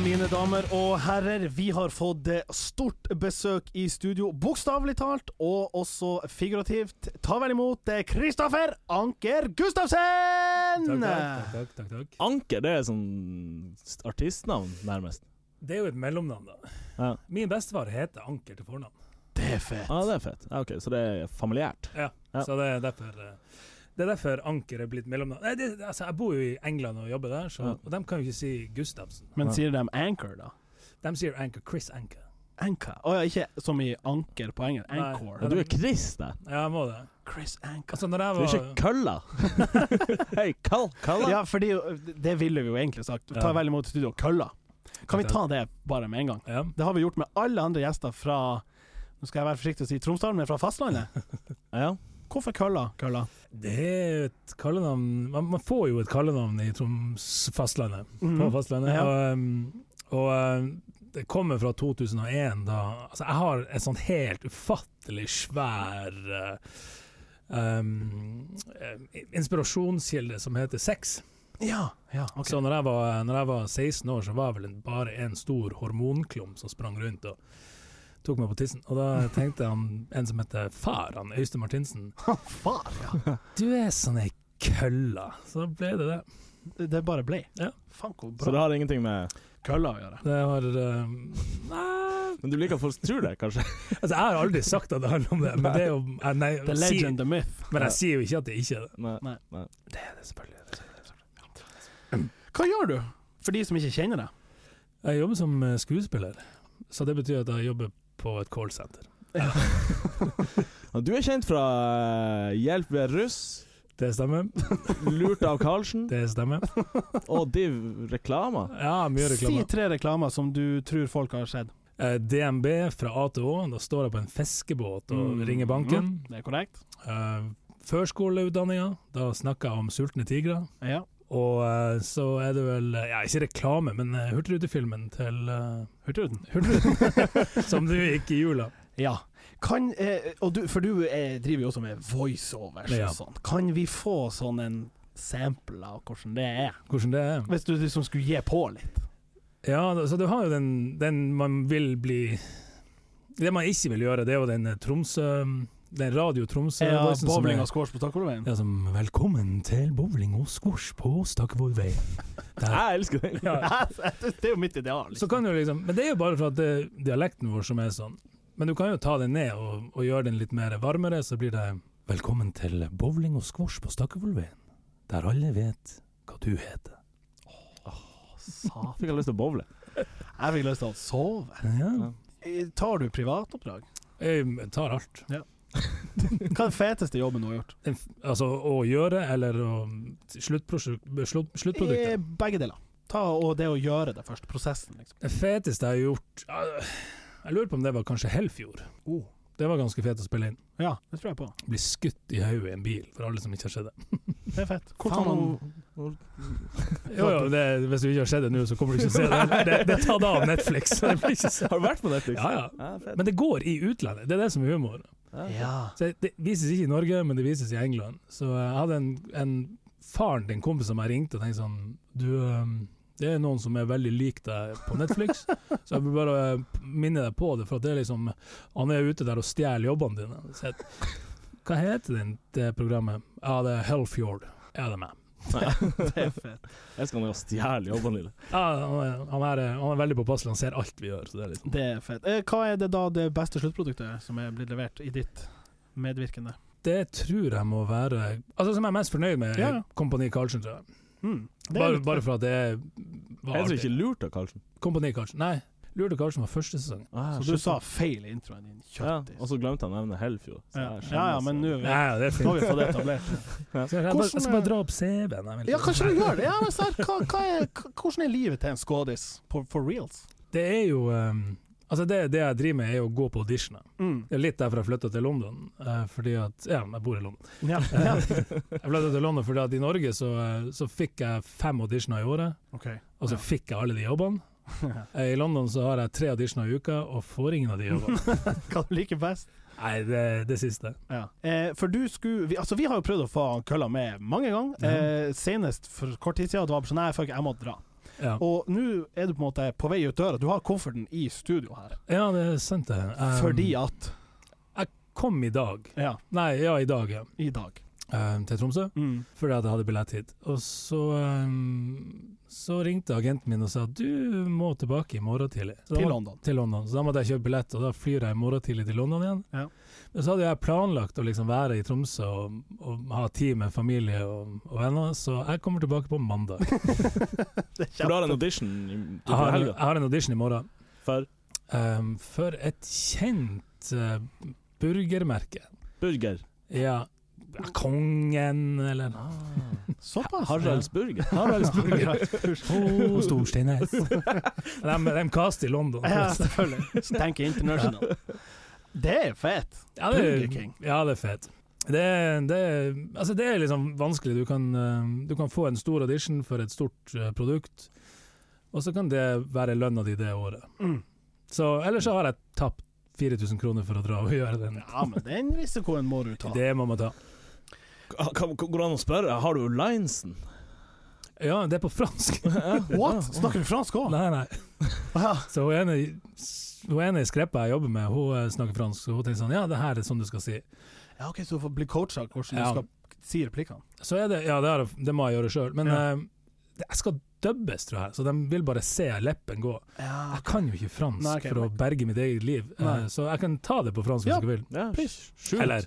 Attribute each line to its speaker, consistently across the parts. Speaker 1: Mine damer og herrer, vi har fått eh, stort besøk i studio, bokstavelig talt og også figurativt. Ta vel imot Kristoffer Anker Gustavsen!
Speaker 2: Takk, takk, takk, takk, takk.
Speaker 3: Anker, det er sånn artistnavn, nærmest.
Speaker 2: Det er jo et mellomnavn, da.
Speaker 3: Ja,
Speaker 2: Min bestefar heter Anker til fornavn,
Speaker 1: Det er fett.
Speaker 3: ah, det er fett. Ja, ok, Så det er familiært.
Speaker 2: ja.
Speaker 3: Ja.
Speaker 2: så det er derfor eh, det er derfor Anker er blitt mellomnavn. Nei, det, altså, jeg bor jo i England og jobber der, så,
Speaker 3: Ja.
Speaker 2: og de kan jo ikke si Gustavsen.
Speaker 1: Men sier de anchor, da?
Speaker 2: De sier Anker. Chris Anker.
Speaker 1: Anchor. Å ja, ikke som i anker på engelsk.
Speaker 2: Nei.
Speaker 3: Ja,
Speaker 1: Anchor.
Speaker 3: du er Chris, da.
Speaker 2: Ja, jeg må det.
Speaker 1: Chris Anchor.
Speaker 2: Altså, når jeg
Speaker 3: Du er
Speaker 2: var
Speaker 3: ikke Kølla. Hei, Kall, Kalla.
Speaker 1: Ja, fordi det ville vi jo egentlig sagt. Ta
Speaker 2: Ja.
Speaker 1: vel imot studio Kølla. Kan vi ta det bare med en gang?
Speaker 2: ja.
Speaker 1: Det har vi gjort med alle andre gjester fra Nå skal jeg være forsiktig og si Tromsdalen, men fra fastlandet.
Speaker 3: Ja.
Speaker 1: Hvorfor kølla? kølla?
Speaker 2: Det er jo et kallenavn man, man får jo et kallenavn i Troms fastlandet. På
Speaker 1: Mhm.
Speaker 2: fastlandet.
Speaker 1: Ja.
Speaker 2: Og, um, og um, det kommer fra 2001, da Altså, jeg har en sånn helt ufattelig svær uh, um, eh, inspirasjonskilde som heter sex.
Speaker 1: Ja, ja, ok.
Speaker 2: Så når jeg, var, når jeg var 16 år, så var jeg vel en, bare en stor hormonklump som sprang rundt og tok meg på tissen. Og da tenkte han, en som heter far, han Øystein Martinsen,
Speaker 1: Far, ja.
Speaker 2: du er sånn ei kølla. Så da ble det det.
Speaker 1: Det, det bare ble.
Speaker 2: Ja.
Speaker 1: Faen, hvor
Speaker 3: Så det
Speaker 1: bra
Speaker 3: har ingenting med
Speaker 1: kølla å gjøre.
Speaker 2: Det har um, Nei
Speaker 3: Men du liker at folk tror det, kanskje?
Speaker 2: Altså, jeg har aldri sagt at det handler om det, men det er jo eh, nei,
Speaker 1: The
Speaker 2: jeg sier-
Speaker 1: legend, the myth.
Speaker 2: Men jeg sier jo ikke at det ikke er det.
Speaker 3: Nei.
Speaker 1: Nei.
Speaker 3: Nei.
Speaker 1: Hva gjør du? For de som ikke kjenner deg.
Speaker 2: Jeg jobber som eh, skuespiller, så det betyr at jeg jobber på et callsenter.
Speaker 3: Og Du er kjent fra eh, Hjelp ved russ,
Speaker 2: Det stemmer.
Speaker 3: Lurt av Karlsen
Speaker 2: Det stemmer.
Speaker 3: og Div reklama.
Speaker 2: Ja, mye
Speaker 1: Si
Speaker 2: reklame.
Speaker 1: tre reklamer som du tror folk har sett.
Speaker 2: Eh, DNB fra A til Å, da står jeg på en fiskebåt og
Speaker 1: Mm.
Speaker 2: ringer banken.
Speaker 1: Det er korrekt?
Speaker 2: Uh, Førskoleutdanninga, da snakker jeg om sultne tigre.
Speaker 1: Ja.
Speaker 2: Og eh, så er det vel, eh, ja ikke reklame, men eh, Hurtigrutefilmen til eh,
Speaker 1: Hurtigruten?
Speaker 2: Hurtigruten, som du gikk i jula.
Speaker 1: Ja. Kan, eh, og du, for du eh, driver jo også med voiceovers
Speaker 2: Ja.
Speaker 1: og sånn. Kan vi få sånn en sample av hvordan det er?
Speaker 2: Hvordan det er.
Speaker 1: Hvis du liksom skulle gi på litt.
Speaker 2: Ja, da- så du har jo den, den man vil bli Det man ikke vil gjøre, det er jo den eh, Tromsø Den Radio
Speaker 1: Ja,
Speaker 2: Tromsø-voicen som
Speaker 1: Bowling
Speaker 2: er
Speaker 1: og squash på Takkolveien.
Speaker 2: ja, som Velkommen til bowling og squash på Stakkevollveien.
Speaker 1: Ah!
Speaker 2: Der.
Speaker 3: Jeg elsker den!
Speaker 2: Ja,
Speaker 1: det er jo mitt ideal.
Speaker 2: så kan du liksom Men det er jo bare for at det er dialekten vår som er sånn. Men du kan jo ta den ned og, og gjøre den litt mer varmere, så blir det Velkommen til bowling og squash på Stakkevollveien, der alle vet hva du heter.
Speaker 1: Satan.
Speaker 3: Fikk jeg lyst til å bowle.
Speaker 1: Jeg fikk lyst til å sove.
Speaker 2: Ja.
Speaker 1: Eh, Tar du privatoppdrag?
Speaker 2: Jeg tar alt.
Speaker 1: Hva er den feteste jobben du har gjort?
Speaker 2: Den f- Altså å gjøre eller å sluttprodukt, slutt,
Speaker 1: Eh,
Speaker 2: Sluttproduktet.
Speaker 1: Begge deler. Ta og det å gjøre det først. Prosessen, liksom.
Speaker 2: Det feteste jeg har gjort ah, Jeg lurer på om det var kanskje Hellfjord. Oh, Det var ganske fett å spille inn.
Speaker 1: Ja, det tror jeg på.
Speaker 2: Bli skutt i hodet i en bil, for alle som ikke har sett det.
Speaker 1: Det er fett.
Speaker 3: Hvordan
Speaker 1: Faen, man-
Speaker 2: Jo, jo, det hvis du ikke har sett det nå, så kommer du ikke til å se det. Det, det tar da av Netflix. så Det blir ikke sett.
Speaker 3: Har du vært på Netflix?
Speaker 2: Ja, ja.
Speaker 3: Ja, fett.
Speaker 2: Men det går i utlandet. Det er det som er humor.
Speaker 3: Ja, fett.
Speaker 1: Ja.
Speaker 2: Så det vises ikke i Norge, men det vises i England. Så jeg hadde en, en faren til en kompis som jeg ringte og tenkte sånn Du, ehm, det er noen som er veldig lik deg på Netflix, så jeg vil bare øh, minne deg på det, for at det er liksom Han er ute der og stjeler jobbene dine. Så jeg, hva heter den, det programmet? Ja, det er Hellfjord. Ja, det er meg.
Speaker 1: Det er fett.
Speaker 3: Jeg skal nå stjele jobben din.
Speaker 2: Ja, han, er, han, er, han er veldig påpasselig, han ser alt vi gjør. Så det er liksom
Speaker 1: Det er fett. Eh, Hva er det da det beste sluttproduktet som er blitt levert i ditt medvirkende?
Speaker 2: Det tror jeg må være Altså, som jeg er mest fornøyd med,
Speaker 1: Ja.
Speaker 2: Kompani Karlsen, tror jeg.
Speaker 1: Mm. Det er
Speaker 2: Bare,
Speaker 1: litt
Speaker 2: bare
Speaker 1: fett.
Speaker 2: for at det var
Speaker 3: Jeg tror
Speaker 2: artig.
Speaker 3: ikke lurt av Karlsen.
Speaker 2: Kompani Karlsen. Nei, Lurt og Karlsen var første sesong.
Speaker 3: Ah,
Speaker 1: Så du sa feil i introen din.
Speaker 3: ja,
Speaker 1: Kjøttis.
Speaker 3: Og så glemte jeg å nevne Hellfjord. Så
Speaker 1: ja.
Speaker 3: jeg skjemmes.
Speaker 1: ja, ja, men nå er vi-
Speaker 2: Ja, ja, det er
Speaker 1: nå har
Speaker 2: fint.
Speaker 1: vi fått det etablert.
Speaker 2: Skal jeg, bare, jeg skal bare dra opp CV-en. jeg vil-
Speaker 1: Ja, kanskje du gjør det? Ja, men så her, hva, hva er, hva- hvordan er livet til en skådis for, for reals?
Speaker 2: Det er jo ehm, Altså, det, det jeg driver med, er jo å gå på auditioner.
Speaker 1: Mm.
Speaker 2: Det er litt derfor jeg flytta til London. eh, fordi at Ja, jeg bor i London.
Speaker 1: Ja.
Speaker 2: Jeg flytta til London fordi at i Norge så, eh, så fikk jeg fem auditioner i året,
Speaker 1: Ok.
Speaker 2: og så fikk jeg alle de jobbene. Eh, I London så har jeg tre auditioner i uka, og får ingen av de jobbene.
Speaker 1: Hva du liker best?
Speaker 2: Nei, det, det siste.
Speaker 1: Ja. Eh, for du skulle vi, Altså, vi har jo prøvd å få han kølla med mange ganger. Eh, senest for kort tid siden, og det var bare sånn Nei, fuck, jeg må dra.
Speaker 2: Ja,
Speaker 1: Og nå er du på en måte på vei ut døra. Du har kofferten i studio her.
Speaker 2: ja det er sant, det. Um,
Speaker 1: Fordi at
Speaker 2: Kom i dag.
Speaker 1: Ja,
Speaker 2: Nei, ja, i dag, ja.
Speaker 1: i dag.
Speaker 2: Um, til Tromsø.
Speaker 1: Mm.
Speaker 2: fordi at jeg hadde billett hit. Og så, ehm, så ringte agenten min og sa du må tilbake i morgen tidlig. Så da
Speaker 1: Til
Speaker 2: må-
Speaker 1: London.
Speaker 2: til London. Så da måtte jeg kjøpe billett, og da flyr jeg i morgen tidlig til London igjen.
Speaker 1: Ja.
Speaker 2: Men så hadde jeg planlagt å liksom være i Tromsø og, og ha tid med familie og, og venner, så jeg kommer tilbake på mandag.
Speaker 1: Det er
Speaker 3: For du har
Speaker 1: kjempe-
Speaker 3: en audition i
Speaker 2: Jeg
Speaker 3: til
Speaker 2: har, jeg
Speaker 3: helga.
Speaker 2: har en audition i morgen
Speaker 3: For
Speaker 2: ehm, for et kjent eh, burgermerke.
Speaker 3: burger.
Speaker 2: Ja, Kongen, eller
Speaker 1: Ah. Såpass?
Speaker 3: Haralds burger.
Speaker 2: Haraldsburger. To Storsteinnes. De, de kaster i London.
Speaker 1: Ja, selvfølgelig. Så tenker jeg international. Det er fett.
Speaker 2: Ja, det,
Speaker 1: Burger
Speaker 2: er-
Speaker 1: King.
Speaker 2: ja, det er fett. Det, er- det, er- altså det er liksom vanskelig. Du kan, eh, du kan få en stor audition for et stort eh, produkt, og så kan det være lønna di det året.
Speaker 1: Mm.
Speaker 2: Så Ellers så har jeg tapt 4000 kroner for å dra og gjøre den.
Speaker 1: Ja, men den risikoen må du ta.
Speaker 2: Det må man ta.
Speaker 3: Ka- ka- Går det an å spørre? Har du linesen?
Speaker 2: Ja, det er på fransk!
Speaker 1: What? Snakker du fransk òg?
Speaker 2: Nei, nei. Så hun ene, hun ene i skreppa jeg jobber med, hun eh, snakker fransk, så hun tenkte sånn Ja, det her er sånn du skal si.
Speaker 1: Ja, OK, så du får bli coacha hvordan
Speaker 2: Ja.
Speaker 1: du skal si replikkene.
Speaker 2: Så er det, ja, det, er, det må jeg gjøre sjøl. Men
Speaker 1: Ja.
Speaker 2: eh, det- jeg skal dubbes, tror jeg. Så de vil bare se leppen gå.
Speaker 1: Ja.
Speaker 2: Jeg kan jo ikke fransk
Speaker 1: Nei, ok,
Speaker 2: for å berge mitt eget liv, eh,
Speaker 1: Nei.
Speaker 2: så jeg kan ta det på fransk hvis
Speaker 1: Ja.
Speaker 2: dere vil.
Speaker 3: Ja,
Speaker 1: Please.
Speaker 3: sjukt.
Speaker 2: Eller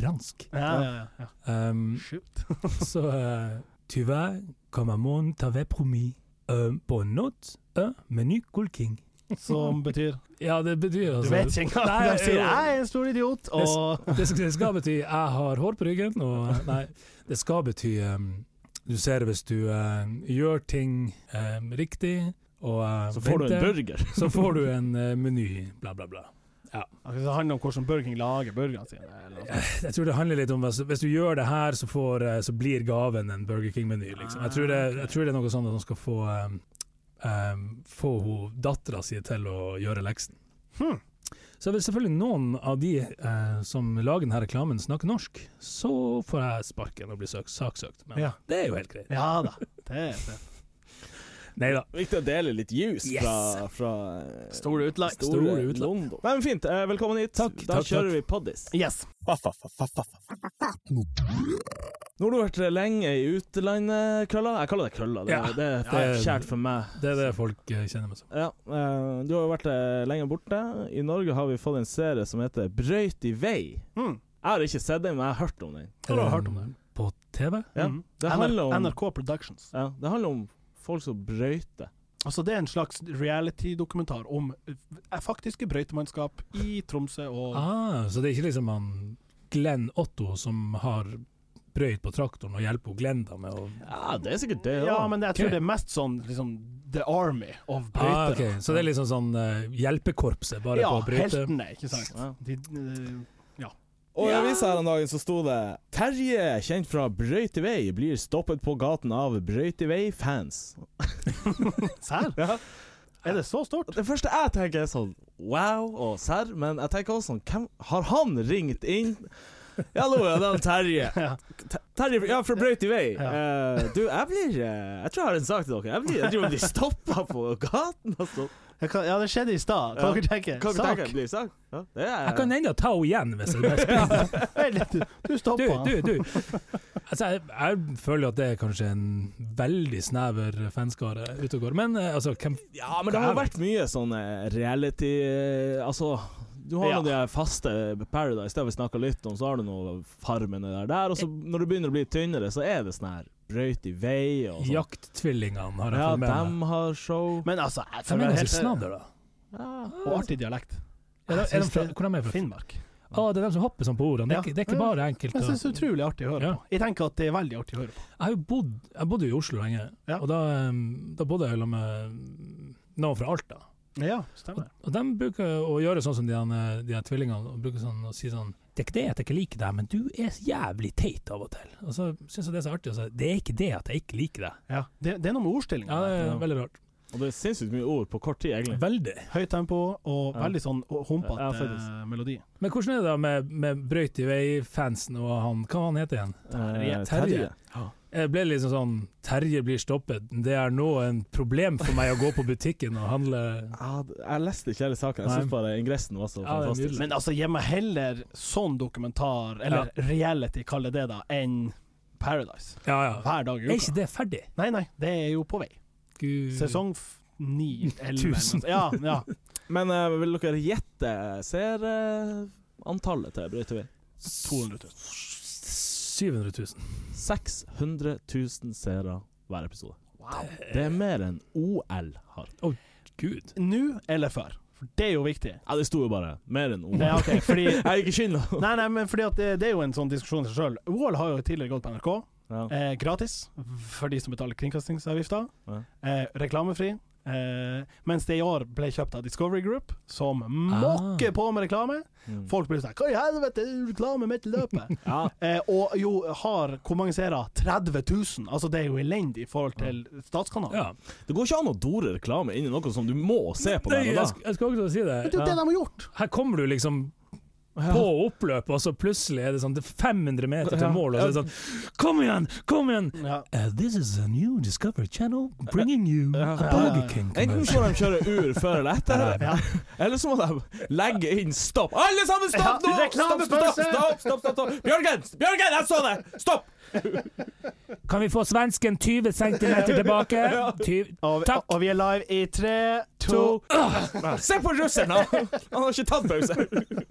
Speaker 2: fransk.
Speaker 1: Ja, ja, ja, ja.
Speaker 2: Um,
Speaker 1: Shoot.
Speaker 2: så eh, Tu vas comme un monde t'avait promis, un bon note, un menu cool king.
Speaker 1: Som betyr
Speaker 2: Ja, det betyr
Speaker 1: Du
Speaker 2: altså
Speaker 1: vet ikke engang.
Speaker 2: Nei,
Speaker 1: De sier
Speaker 2: jo.
Speaker 1: 'jeg er en stor idiot', og
Speaker 2: det, sk- det skal bety 'jeg har hår på ryggen', og nei, det skal bety um, Du ser hvis du um, gjør ting um, riktig og uh,
Speaker 3: Så får du
Speaker 1: eh.
Speaker 3: en
Speaker 2: venter,
Speaker 3: burger.
Speaker 2: så får du en uh, meny, bla, bla, bla.
Speaker 1: Ok, så Det handler om hvordan Burger King lager burgerne sine. eller noe sånt.
Speaker 2: Jeg tror det handler litt om altså, Hvis du gjør det her, så, får, eh, så blir gaven en Burger King-meny. Liksom. Jeg, tror det- jeg tror det er noe sånn at han skal få um, um, Få dattera si til å gjøre leksen.
Speaker 1: Hmm.
Speaker 2: Så hvis selvfølgelig noen av de eh, som lager denne reklamen, snakker norsk, så får jeg sparken og blir søkt, saksøkt. Men
Speaker 1: Ja.
Speaker 2: det er jo helt greit.
Speaker 1: Ja da. Det er fett.
Speaker 2: Nei da.
Speaker 3: Viktig å dele litt juice
Speaker 2: Yes.
Speaker 3: fra, fra eh,
Speaker 1: Store utlag.
Speaker 3: store
Speaker 2: Store utlag.
Speaker 3: London. Nei, men fint, eh, velkommen hit.
Speaker 2: Takk,
Speaker 3: da
Speaker 2: takk,
Speaker 3: kjører vi Poddis.
Speaker 1: Yes.
Speaker 3: Nå har du vært lenge i utelandet, Krølla. Jeg kaller deg Krølla, det,
Speaker 2: Ja.
Speaker 3: det, det,
Speaker 2: Ja,
Speaker 3: er
Speaker 2: ja.
Speaker 3: kjært for meg.
Speaker 2: Det er det folk eh, kjenner meg som.
Speaker 3: Ja, eh, Du har jo vært eh, lenge borte. I Norge har vi fått en serie som heter Brøyt i vei.
Speaker 1: Mm.
Speaker 3: Jeg har ikke sett den, men jeg har hørt om den.
Speaker 1: Har du hørt om det?
Speaker 2: På TV?
Speaker 3: Ja,
Speaker 1: Mm.
Speaker 3: det, handler
Speaker 1: NR-
Speaker 3: om,
Speaker 1: NRK Productions.
Speaker 3: ja, det handler om folk som brøyter.
Speaker 1: Altså Det er en slags reality-dokumentar om eh, faktiske brøytemannskap i Tromsø og
Speaker 2: Ah, så det er ikke liksom han Glenn Otto som har brøyt på traktoren og hjelper Glenda med å
Speaker 3: Ja, det er sikkert det òg.
Speaker 1: Ja, men jeg tror
Speaker 2: Ok.
Speaker 1: det er mest sånn liksom, The Army of brøytere.
Speaker 2: Ah, ok. Så det er liksom sånn eh, hjelpekorpset, bare
Speaker 1: ja,
Speaker 2: på å bryte?
Speaker 1: heltene, ikke sant.
Speaker 3: Ja.
Speaker 1: De, eh,
Speaker 3: Og i avisa her om dagen så sto det Terje, kjent fra Brøyt i vei, blir stoppet på gaten av Brøyt i vei-fans.
Speaker 1: serr?
Speaker 3: Ja.
Speaker 1: Er det så stort?
Speaker 3: Det første jeg tenker er sånn wow og serr, men jeg tenker også sånn hvem, Har han ringt inn? Ja, hallo, ja, det er han Terje.
Speaker 1: Ja.
Speaker 3: Te- Terje ja, fra Brøyt i vei.
Speaker 1: Ja.
Speaker 3: Eh, du, jeg blir eh, Jeg tror jeg har en sak til dere. Jeg blir, jeg tror jeg blir stoppa på gaten. Altså.
Speaker 1: Jeg kan, ja, det skjedde i stad. Hva
Speaker 3: Ja.
Speaker 1: dere tenker
Speaker 3: Hva
Speaker 1: Sak?
Speaker 3: tenker jeg blir sak? Ja, det er,
Speaker 2: Jeg kan ennå ta henne igjen, hvis det er best.
Speaker 1: Vent litt, du, du
Speaker 2: Du,
Speaker 1: stoppa.
Speaker 2: du, du. Altså, jeg, jeg føler jo at det er kanskje en veldig snever fanskare ute og går, men eh, altså, hvem
Speaker 3: Ja, men det har jo vært mye sånn eh, reality eh, Altså, du har
Speaker 1: Ja.
Speaker 3: nå de her faste Paradise, det har vi snakka litt om, så har du noe Farmen og det der, der, og så når du begynner å bli tynnere, så er det sånn her brøyt i vei og sånn.
Speaker 2: Jakttvillingene har jeg
Speaker 3: Ja,
Speaker 2: fått med meg.
Speaker 3: dem har show.
Speaker 1: Men altså, jeg
Speaker 2: Hvem er det som
Speaker 1: helt
Speaker 2: snadder, da? Ah,
Speaker 1: Og artig dialekt.
Speaker 2: Er de, er de fra, hvor de er fra?
Speaker 1: Finnmark.
Speaker 2: Å, det er dem som hopper sånn på ordene. Det er, ikke- det er ikke
Speaker 1: Ja.
Speaker 2: bare enkelt.
Speaker 1: Jeg
Speaker 2: å-
Speaker 1: synes det er utrolig artig å høre
Speaker 2: Ja.
Speaker 1: på. Jeg tenker at det er veldig artig å høre på.
Speaker 2: Jeg har jo bodd Jeg bodde jo i Oslo lenge,
Speaker 1: Ja.
Speaker 2: og da, um, da bodde jeg sammen med noen fra Alta.
Speaker 1: Ja,
Speaker 2: Og,
Speaker 1: stemmer.
Speaker 2: og de bruker å gjøre sånn som de, han, eh, de her tvillingene, og bruker sånn å si sånn Det er ikke det at jeg ikke liker deg, men du er så jævlig teit av og til. Og så syns jeg det er så artig å si det er ikke det at jeg ikke liker deg.
Speaker 1: Ja. Det, det er noe med
Speaker 2: Ja,
Speaker 1: ordstillinga.
Speaker 2: det er veldig rart.
Speaker 3: Og det er sinnssykt mye ord på kort tid, egentlig.
Speaker 2: Veldig.
Speaker 1: Høyt tempo og
Speaker 3: Ja.
Speaker 1: veldig sånn humpete
Speaker 3: Ja, faktisk.
Speaker 1: melodi.
Speaker 2: Men hvordan er det da med, med Brøyt i vei-fansen og han Hva han heter igjen?
Speaker 3: Eh,
Speaker 2: Terje. Jeg ble liksom sånn Terje blir stoppet. Det er nå en problem for meg å gå på butikken og handle
Speaker 3: Ja, d- jeg leste ikke hele saken. Jeg
Speaker 2: Nei.
Speaker 3: syns bare ingressen var så
Speaker 2: Ja, det er
Speaker 3: fantastisk.
Speaker 2: nydelig.
Speaker 1: Men altså, gi meg heller sånn dokumentar, eller reality, kall det det, da, enn Paradise.
Speaker 2: Ja, ja.
Speaker 1: Hver dag i
Speaker 2: Er
Speaker 1: uka.
Speaker 2: ikke det ferdig?
Speaker 1: Nei, nei, det er jo på vei.
Speaker 2: Gud.
Speaker 1: Sesong f- ni, elleve
Speaker 2: Tusen.
Speaker 1: Ja, ja.
Speaker 3: Men eh, vil dere gjette seerantallet til Brøytevei?
Speaker 1: 200 000.
Speaker 2: 700 000.
Speaker 3: 600 000 seere hver episode. Det er mer enn OL har.
Speaker 2: Gud.
Speaker 1: Nå eller før? For det er jo viktig.
Speaker 3: Ja, det sto jo bare 'mer enn OL'.
Speaker 1: Det, er ok, fordi,
Speaker 3: Jeg gikk ikke inn nå.
Speaker 1: nei, nei, men fordi at det, det er jo en sånn diskusjon i seg sjøl. OL har jo tidligere gått på NRK.
Speaker 3: Ja.
Speaker 1: Eh, gratis for de som betaler kringkastingsavgifta.
Speaker 3: Ja.
Speaker 1: Eh, reklamefri. Eh, mens det i år ble kjøpt av Discovery Group,
Speaker 2: Ah.
Speaker 1: som måker på med reklame.
Speaker 3: Mm.
Speaker 1: Folk blir sånn Hva i helvete, er det reklame midt i løpet?
Speaker 3: Ja.
Speaker 1: eh, og jo har hvor mange seere? 30 000. Altså, det er jo elendig i forhold til statskanalen.
Speaker 2: Ja.
Speaker 3: Det går ikke an å dore reklame inn i noe som du må se på
Speaker 2: Nei,
Speaker 3: der og da.
Speaker 2: Jeg, sk- jeg skal også si
Speaker 1: Men det
Speaker 2: det.
Speaker 1: er jo det de har gjort!
Speaker 2: Her kommer du liksom på oppløpet, og så plutselig er det sånn det er 500 meter til
Speaker 3: Ja.
Speaker 2: mål, og så er det sånn Kom igjen! Kom igjen!
Speaker 1: Ja.
Speaker 2: Uh, this is a new Discovery Channel bringing you a
Speaker 3: Ja.
Speaker 1: Ja.
Speaker 2: Burger King
Speaker 3: Enten så
Speaker 2: commercial.
Speaker 3: må de kjøre ur før eller etter,
Speaker 1: Ja.
Speaker 3: eller så må de legge inn stopp. Alle sammen, stopp nå!
Speaker 1: Ja,
Speaker 3: Stopp, stopp,
Speaker 1: reklamepause!
Speaker 3: stopp, stopp, stopp, stopp. Bjørgen, Bjørgen, jeg så deg! Stopp!
Speaker 2: Kan vi få svensken 20 cm tilbake? Ty-
Speaker 1: Og, vi,
Speaker 2: Takk.
Speaker 1: og vi er live i tre, to
Speaker 3: To. Se på russeren, han! Han har ikke tatt pause.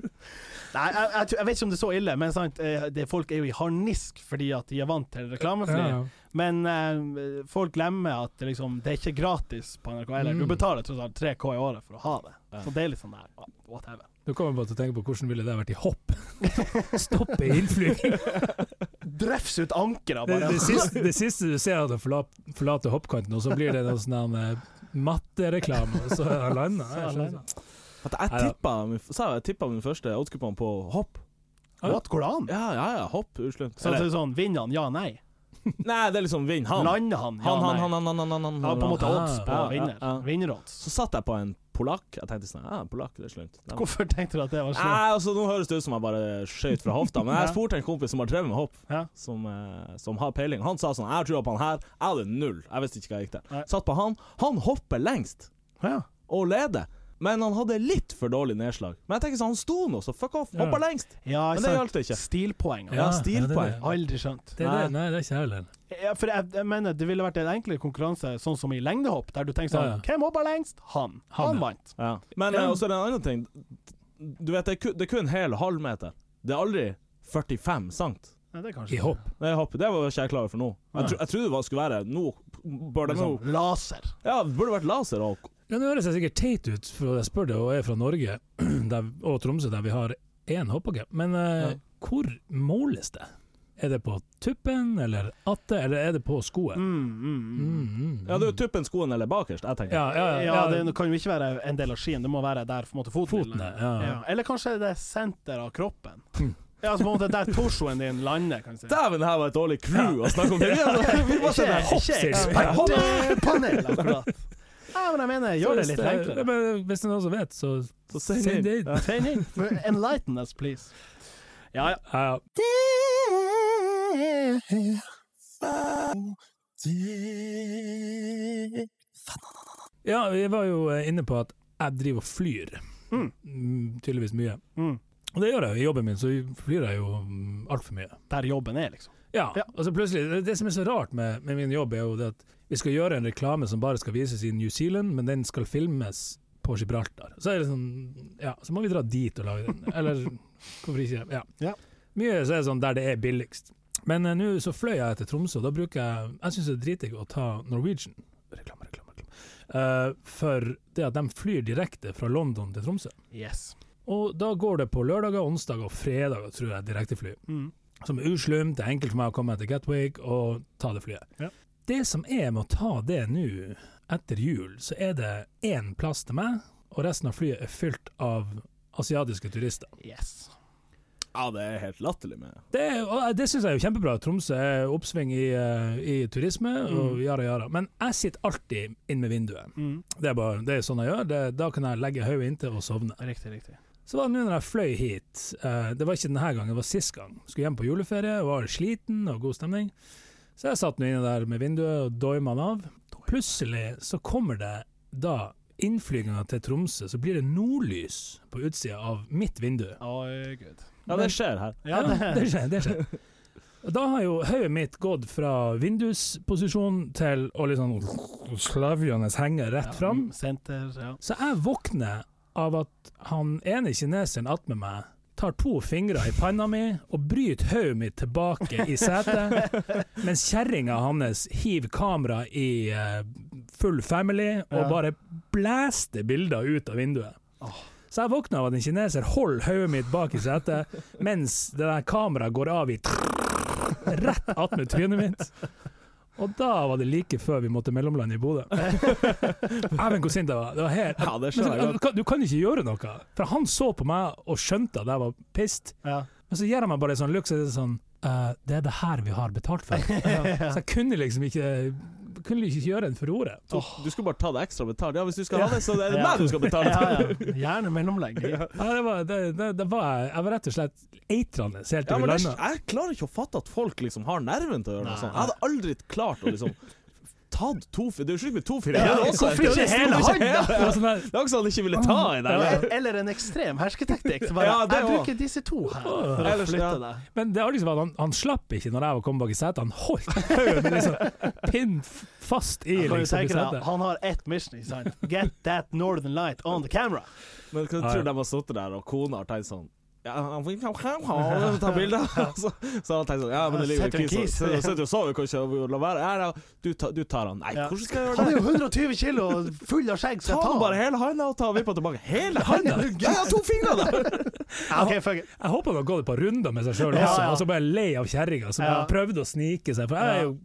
Speaker 1: Nei, jeg, jeg, tror- jeg vet ikke om det er så ille, men sant, eh, det, folk er jo i harnisk fordi at de er vant til reklamefri.
Speaker 2: Ja, ja.
Speaker 1: Men eh, folk glemmer at det, liksom, det er ikke gratis på NRK heller. Du
Speaker 2: Mm.
Speaker 1: betaler tross alt 3K i året for å ha det.
Speaker 3: Ja.
Speaker 1: Så det er litt sånn der, whatever.
Speaker 2: Nå kommer jeg bare til å tenke på hvordan ville det vært i hopp? Stoppe innflyging.
Speaker 1: Drefs ut ankeret
Speaker 2: Det,
Speaker 1: bare.
Speaker 2: det, siste, det siste du ser, er at han forlater, forlater hoppkanten, og så blir det noe sånn der, eh, mattereklame, og så er han landa. Jeg skjønner.
Speaker 3: At jeg tippa min, sa jeg tippa min første oddskupon på hopp.
Speaker 1: What, går det an?
Speaker 3: Ja, ja, ja, hopp. Uslemt.
Speaker 1: Så det er sånn, Vinner han? Ja, nei.
Speaker 3: Nei, det er liksom vinn. Han. Han,
Speaker 1: Lander han? Ja,
Speaker 3: han, han,
Speaker 1: nei.
Speaker 3: han, han, han, han,
Speaker 1: Ja, på en måte
Speaker 2: Ah,
Speaker 1: odds på
Speaker 3: ja, ja,
Speaker 1: vinner.
Speaker 3: ja.
Speaker 1: Vinnerodds.
Speaker 3: Så satt jeg på en polakk. Jeg tenkte sånn Ja, en polakk, det er slemt. Den-
Speaker 1: Hvorfor tenkte du at det var sånn?
Speaker 3: Nei, altså Nå høres det ut som jeg bare skjøt fra hofta, men
Speaker 1: Ja.
Speaker 3: jeg spurte en kompis som har drevet med hopp,
Speaker 1: Ja.
Speaker 3: som, eh, som har peiling. Han sa sånn 'Jeg har trua på han her'. Jeg hadde null. Jeg visste ikke hva jeg gikk
Speaker 1: Nei.
Speaker 3: til. Satt på han. Han hopper lengst
Speaker 1: Ja.
Speaker 3: og leder, men han hadde litt for dårlig nedslag. Men jeg tenker sånn, han sto nå, så fuck off.
Speaker 2: Ja.
Speaker 3: Hoppa lengst.
Speaker 1: Ja,
Speaker 3: Men det
Speaker 1: sant.
Speaker 3: hjalp det ikke.
Speaker 1: Stilpoeng.
Speaker 3: Ja,
Speaker 1: altså.
Speaker 3: stilpoeng.
Speaker 2: Ja, det er det.
Speaker 1: Aldri skjønt.
Speaker 2: Det er det, nei, det er ikke jeg heller.
Speaker 1: Ja, for jeg, jeg mener det ville vært en enklere konkurranse, sånn som i lengdehopp, der du tenker sånn
Speaker 2: Ja, ja.
Speaker 1: Hvem hoppa lengst? Han.
Speaker 2: Han,
Speaker 1: Han
Speaker 2: ja.
Speaker 1: vant.
Speaker 3: Ja. Men
Speaker 2: Ja.
Speaker 3: eh, også er det en annen ting. Du vet, det er kun, det er kun hel og halv meter. Det er aldri 45 sant.
Speaker 1: Nei, det er
Speaker 2: I
Speaker 1: kanskje
Speaker 2: hopp.
Speaker 3: Det er hopp. Det var ikke jeg klar over for nå. Jeg, tro, jeg trodde det var- skulle være nå. Bør det nå
Speaker 1: Liksom, laser.
Speaker 3: Ja, det burde vært laser og
Speaker 2: Ja, Nå høres jeg sikkert teit ut, for jeg spør deg og er fra Norge der, og Tromsø, der vi har én hoppbakke. Men eh,
Speaker 3: Ja.
Speaker 2: hvor måles det? Er det på tuppen eller atte, eller er det på skoen?
Speaker 1: Mm, mm,
Speaker 2: Mm,
Speaker 1: mm.
Speaker 2: mm,
Speaker 3: Ja, det er jo tuppen, skoen eller bakerst, jeg tenker.
Speaker 2: ja, ja,
Speaker 1: Ja,
Speaker 2: ja,
Speaker 1: det kan jo ikke være en del av skien, det må være der på en måte foten.
Speaker 2: Foten
Speaker 1: er.
Speaker 2: er, ja. Hm.
Speaker 1: Eller kanskje det er senter av kroppen. Ja, altså på en måte der torsoen din lander, kan du si.
Speaker 3: Dæven, det her var et dårlig crew å snakke om det! Vi altså, vi bare sitter her.
Speaker 1: Ikke
Speaker 2: hoppstil.
Speaker 1: ekspertpanel, akkurat. Ja, men jeg mener, gjør det litt
Speaker 2: Hvis
Speaker 1: enklere.
Speaker 2: men Hvis det er noen som vet, så
Speaker 3: Så send
Speaker 2: send det
Speaker 3: inn.
Speaker 2: inn.
Speaker 1: Send inn. Enlighten us, please. Ja, ja.
Speaker 2: Ja, ja. ja, vi var jo eh, inne på at jeg driver og flyr.
Speaker 1: Mm.
Speaker 2: Mm, Tydeligvis mye.
Speaker 1: Mm.
Speaker 2: Og det gjør jeg jo i jobben min, så flyr jeg jo mm, altfor mye.
Speaker 1: Der jobben er, liksom.
Speaker 2: Ja,
Speaker 1: Ja.
Speaker 2: og så plutselig det- Det som er så rart med, med min jobb, er jo det at vi skal gjøre en reklame som bare skal vises i New Zealand, men den skal filmes på Gibraltar. Så er det sånn Ja, så må vi dra dit og lage den. Eller hvorfor ikke? Ja.
Speaker 1: Ja.
Speaker 2: Mye så er det sånn der det er billigst. Men eh, nå så fløy jeg til Tromsø, og da bruker jeg Jeg syns det er dritdigg å ta Norwegian. Reklame, reklame, reklame. Eh, for det at de flyr direkte fra London til Tromsø.
Speaker 1: Yes.
Speaker 2: Og da går det på lørdager, onsdager og fredager, tror jeg, direktefly
Speaker 1: Mm.
Speaker 2: som er uslumt, det er enkelt for meg å komme til Gatwick og ta det flyet.
Speaker 1: Ja.
Speaker 2: Det som er med å ta det nå, etter jul, så er det én plass til meg, og resten av flyet er fylt av asiatiske turister.
Speaker 1: Yes.
Speaker 3: Ja, det er helt latterlig med
Speaker 2: Det, er- og det syns jeg er jo kjempebra. Tromsø er oppsving i, eh, i turisme og
Speaker 1: Mm.
Speaker 2: jara jara. Men jeg sitter alltid inn med vinduet.
Speaker 1: Mm.
Speaker 2: Det er, bare, det er sånn jeg gjør. Det, da kan jeg legge hodet inntil og sovne.
Speaker 1: Riktig, riktig.
Speaker 2: Så var det nå når jeg fløy hit, eh, det var ikke denne gangen, det var sist gang. Skulle hjem på juleferie, var sliten og god stemning. Så jeg satt nå inne der med vinduet og doima den av. Plutselig så kommer det da innflyginga til Tromsø, så blir det nordlys på utsida av mitt vindu.
Speaker 1: Oi, gud.
Speaker 3: Ja, det skjer her.
Speaker 1: Ja,
Speaker 2: det
Speaker 1: det,
Speaker 2: skjer. det skjer. Og Da har jo hodet mitt gått fra vindusposisjon til å liksom slavjende henge rett fram.
Speaker 1: Ja, senter, ja.
Speaker 2: Så jeg våkner av at han ene kineseren attmed meg tar to fingre i panna mi og bryter hodet mitt tilbake i setet, mens kjerringa hans hiver kamera i eh, full family og
Speaker 1: Ja.
Speaker 2: bare blæster bilder ut av vinduet.
Speaker 1: Åh.
Speaker 2: Så jeg våkner av at en kineser holder hodet mitt bak i setet, mens det der kameraet går av i rett attmed trynet mitt. Og da var det like før vi måtte mellomlande i Bodø. Dæven, hvor sint jeg var. Det var helt
Speaker 3: Ja, det
Speaker 2: men
Speaker 3: skjer
Speaker 2: så, du, kan, du kan ikke gjøre noe. For han så på meg og skjønte at jeg var pissed.
Speaker 1: ja.
Speaker 2: Men så gir han meg bare en sånn look så er det sånn «Eh, Det er det her vi har betalt for. Så jeg kunne liksom ikke Kunne ikke gjøre en furore.
Speaker 3: Du, du skulle bare ta det ekstra betalt. Ja, hvis du skal ha det, så er det
Speaker 1: Ja.
Speaker 3: meg du skal betale.
Speaker 1: ja, ja. Gjerne mellomlegg.
Speaker 2: Ja, det var, det, det, det var jeg. Jeg var rett og slett eitrende helt
Speaker 3: Ja,
Speaker 2: til vi
Speaker 3: men jeg,
Speaker 2: landa.
Speaker 3: jeg klarer ikke å fatte at folk liksom har nerven til å gjøre noe
Speaker 1: Nei.
Speaker 3: sånt. Jeg hadde aldri klart å liksom Tatt to fi- Det er jo sjukt med to fire.
Speaker 1: Ja,
Speaker 3: Det er også-
Speaker 1: hvorfor ikke
Speaker 3: det er
Speaker 1: hele
Speaker 3: ikke
Speaker 1: hånden?
Speaker 3: hele-
Speaker 2: Det var sånn der,
Speaker 3: Det er også han ikke ville ta i det.
Speaker 1: Eller, eller en ekstrem hersketeknikk. så Bare,
Speaker 3: Ja, det
Speaker 1: jeg
Speaker 3: også.
Speaker 1: bruker disse to her for å
Speaker 3: Ellers,
Speaker 1: flytte
Speaker 3: ja.
Speaker 1: deg.
Speaker 2: Men det artigste var at han, han slapp ikke når jeg var kommet bak i setet. Han holdt hodet liksom, pinn f- fast i
Speaker 1: Kan du
Speaker 2: liksom, i
Speaker 1: tenke deg,
Speaker 2: setet.
Speaker 1: han har ett mission. Ikke sant? Get that northern light on the camera.
Speaker 3: Men hva
Speaker 2: Ja, ja.
Speaker 3: tror de har sittet der, og kona har tenkt sånn ja, han får ikke ha- ha- ha- ta bilder. Så, så har han tenkt sånn Ja, men det ligger
Speaker 1: Setter
Speaker 3: jo
Speaker 1: en
Speaker 3: en kis
Speaker 1: kis.
Speaker 3: Så så sitter jo og sover, kanskje. og La være. Ja, ja, du, ta, du tar han. Nei,
Speaker 1: Ja.
Speaker 3: hvordan skal jeg gjøre
Speaker 1: Han
Speaker 3: det?
Speaker 1: er jo 120 kilo og full av skjegg, så
Speaker 3: Ta
Speaker 1: jeg tar
Speaker 3: bare
Speaker 1: bare
Speaker 3: hele handa og ta vippa tilbake. Hele handa! Ja, jeg har to fingre der!
Speaker 1: Ok, fuck it.
Speaker 2: Jeg håper han har gått et par runder med seg sjøl
Speaker 1: Ja,
Speaker 2: også,
Speaker 1: ja.
Speaker 2: og så bare lei av kjerringa som
Speaker 1: Ja.
Speaker 2: har prøvd å snike seg. For jeg er jo,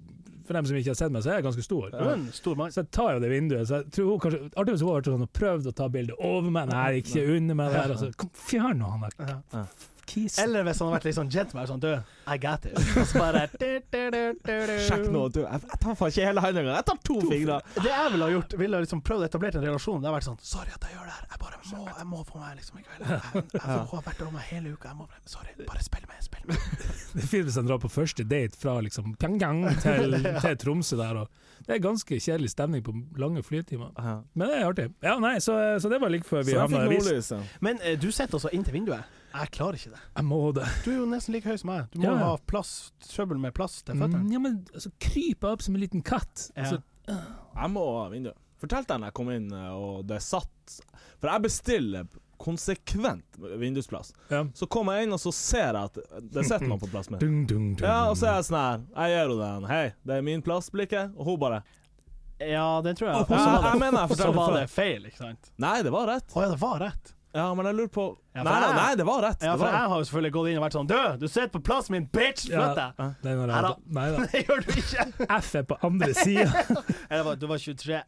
Speaker 2: for dem som ikke har sett meg, så er jeg ganske stor.
Speaker 1: Du er en Mm, stor mann.
Speaker 2: Så jeg tar jo det vinduet. Så jeg tror hun kanskje Artig hvis hun har vært sånn og prøvd å ta bilde over meg, nei, ikke under meg der. Og så kom, fjern nå han der
Speaker 3: Ja.
Speaker 2: kisen.
Speaker 1: Eller hvis han har vært litt sånn gentleman, sånn død. I got it. Og så bare du, du, du, du, du.
Speaker 3: Sjekk nå, du. Jeg jeg tar faen ikke hele handa engang. Jeg tar to fingre.
Speaker 1: Det jeg ville ha gjort, ville ha liksom prøvd å etablere en relasjon. Det har vært sånn Sorry at jeg gjør det her, jeg bare må Jeg må få meg liksom i kveld. Jeg, jeg, jeg har vært over meg hele uka, jeg må Sorry, bare spill med, spill med.
Speaker 2: Det er fint hvis han drar på første date fra liksom Pyongyang til, til Tromsø der. Og det er ganske kjedelig stemning på lange flytimer.
Speaker 3: Ja.
Speaker 2: Men det er artig. Ja, nei, så, så det var like før
Speaker 3: Så
Speaker 2: vi
Speaker 3: jeg
Speaker 2: havna
Speaker 3: fikk
Speaker 2: i avis.
Speaker 3: nordlys. ja.
Speaker 1: Men eh, du sitter altså inntil vinduet. Jeg klarer ikke det.
Speaker 2: Jeg må det.
Speaker 1: Du er jo nesten like høy som meg. Du må
Speaker 2: Ja,
Speaker 1: jo
Speaker 2: ja.
Speaker 1: ha plass, trøbbel med plass til
Speaker 2: Mm,
Speaker 1: føttene.
Speaker 2: ja, men altså, kryper jeg opp som en liten katt. Altså,
Speaker 1: Ja.
Speaker 2: Så
Speaker 3: Jeg må av vinduet. Fortalte jeg når jeg kom inn eh, og det satt For jeg bestiller konsekvent vindusplass.
Speaker 2: Ja.
Speaker 3: Så kommer jeg inn, og så ser jeg at det sitter noen på plass min.
Speaker 2: Dung, dung, dung.
Speaker 3: Ja, og så er jeg sånn her Jeg gir henne den. Hei, det er min plass, blikket. Og hun bare
Speaker 1: Ja, det tror jeg.
Speaker 3: Ja,
Speaker 1: så var
Speaker 3: jeg
Speaker 1: det,
Speaker 3: mener jeg
Speaker 1: så
Speaker 3: fortalte
Speaker 1: var
Speaker 3: før.
Speaker 1: det feil, ikke sant?
Speaker 3: Nei, det var rett.
Speaker 1: Å ja, det var rett.
Speaker 3: Ja, men jeg lurer på
Speaker 1: Ja,
Speaker 3: Nei,
Speaker 1: for
Speaker 3: nei,
Speaker 1: jeg-
Speaker 3: nei, det var rett.
Speaker 1: Ja,
Speaker 3: Det
Speaker 1: for
Speaker 3: var rett.
Speaker 1: jeg har jo selvfølgelig gått inn og vært sånn Død, du sitter på plassen min, bitch! Flytt deg!
Speaker 2: Nei, nei, nei,
Speaker 1: Neida.
Speaker 2: nei da.
Speaker 1: Det gjør du ikke!
Speaker 2: F er på andre sida.
Speaker 1: Eller var- du var 23.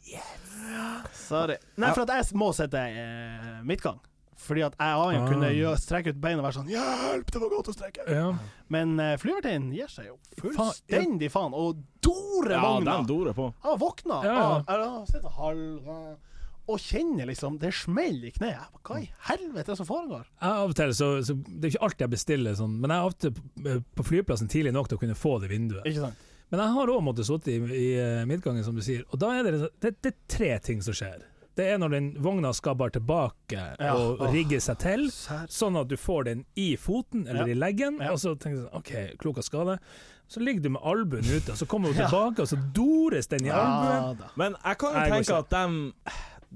Speaker 1: Sorry. Nei, for at jeg må sitte eh, midtgang. Fordi at jeg og Jan kunne
Speaker 2: Ah.
Speaker 1: gjø- strekke ut beina og være sånn Hjelp, det var godt å strekke!
Speaker 2: ja.
Speaker 1: Men eh, flyvertinnen gir seg jo fullstendig faen, og dorer
Speaker 3: Ja,
Speaker 1: vogna!
Speaker 3: den dorer på.
Speaker 1: Jeg har
Speaker 2: Ja,
Speaker 1: våkna
Speaker 2: ja.
Speaker 1: av- eller jeg har sett halv og kjenner liksom det smeller i kneet. Jeg bare, Hva i helvete er det som foregår?
Speaker 2: Jeg av og til så, så Det er ikke alltid jeg bestiller sånn, men jeg er ofte p- på flyplassen tidlig nok til å kunne få det vinduet.
Speaker 1: Ikke sant?
Speaker 2: Men jeg har òg måttet sitte i, i eh, midtgangen, som du sier. Og da er det, det, det er tre ting som skjer. Det er når den vogna skal bare tilbake
Speaker 1: Ja.
Speaker 2: og
Speaker 1: Åh.
Speaker 2: rigge seg til.
Speaker 1: Sær.
Speaker 2: Sånn at du får den i foten eller i
Speaker 1: Ja.
Speaker 2: leggen,
Speaker 1: Ja.
Speaker 2: og så tenker du sånn OK, klok av skade. Så ligger du med albuen ute, og så kommer du tilbake, og så dores den i albuen.
Speaker 1: Ja da.
Speaker 3: Men jeg kan jo
Speaker 2: Nei, det
Speaker 3: tenke
Speaker 2: går
Speaker 3: at dem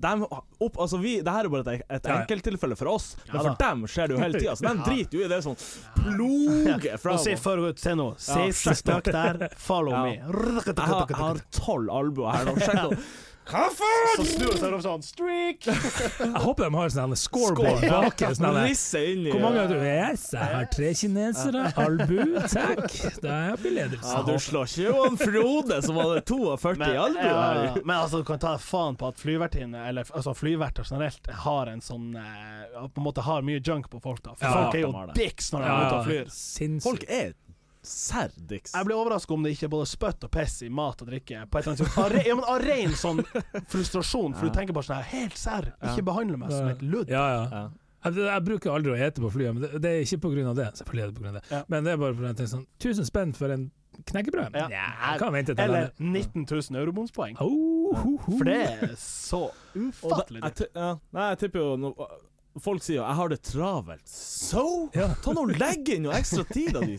Speaker 3: dem opp, altså vi, det her er bare et, et
Speaker 2: Ja, ja.
Speaker 3: enkelttilfelle for oss,
Speaker 1: Ja,
Speaker 3: men for dem skjer det jo hele tida. Så de
Speaker 1: Ja.
Speaker 3: driter jo i det sånn ploge
Speaker 1: Og
Speaker 3: fram.
Speaker 1: se
Speaker 3: Jeg
Speaker 1: for ut, se nå. Siste spøk der, follow
Speaker 3: Ja.
Speaker 1: me.
Speaker 3: har, jeg har tolv albuer her nå. Sjekk nå.
Speaker 1: Så snur hun seg opp sånn Streak!
Speaker 2: Jeg håper de har sånn scoreboard
Speaker 3: Score.
Speaker 2: bak. Sånn her-
Speaker 3: Risse inn i
Speaker 2: hvor mange har du? Yes, jeg har tre kinesere. Albu, takk. Der blir
Speaker 3: Ja, du
Speaker 2: ledelsen.
Speaker 3: slår ikke Johan Frode, som hadde 42 i albu
Speaker 1: ja,
Speaker 3: her.
Speaker 1: men altså, du kan ta faen på at flyvertinner, eller altså, flyverter generelt, har en sånn eh, På en måte har mye junk på folk, da. For
Speaker 2: Ja,
Speaker 1: folk er
Speaker 3: de har
Speaker 1: jo
Speaker 3: det.
Speaker 1: dicks når de er ute
Speaker 2: Ja,
Speaker 1: og flyr.
Speaker 2: sinnssykt.
Speaker 3: Folk er særdiks.
Speaker 1: Jeg blir overraska om det ikke er både spytt og piss i mat og drikke. På et eller annet tidspunkt. Av re- ja, men Av ren sånn frustrasjon, for
Speaker 3: Ja.
Speaker 1: du tenker bare sånn her Helt serr, ikke behandle meg som et ludd.
Speaker 2: Ja, ja.
Speaker 3: Ja.
Speaker 2: Jeg, jeg bruker aldri å ete på flyet, men det, det er ikke pga. det. Selvfølgelig er det på grunn av det.
Speaker 1: Ja.
Speaker 2: Men det er bare fordi jeg tenker sånn 1000 spenn for en knekkebrød?
Speaker 1: Ja.
Speaker 2: Ja. jeg kan vente til
Speaker 1: Eller
Speaker 2: landet.
Speaker 1: 19 000 eurobomspoeng.
Speaker 2: Oh, ho, ho.
Speaker 1: For det er så
Speaker 3: Og da-
Speaker 1: ufattelig
Speaker 3: jeg
Speaker 1: dyrt.
Speaker 3: ti- ja. Nei, jeg tipper jo no, Folk sier jo 'jeg har det travelt'. So?
Speaker 2: Ja.
Speaker 3: Ta nå og Legg inn noe ekstra tid, da, du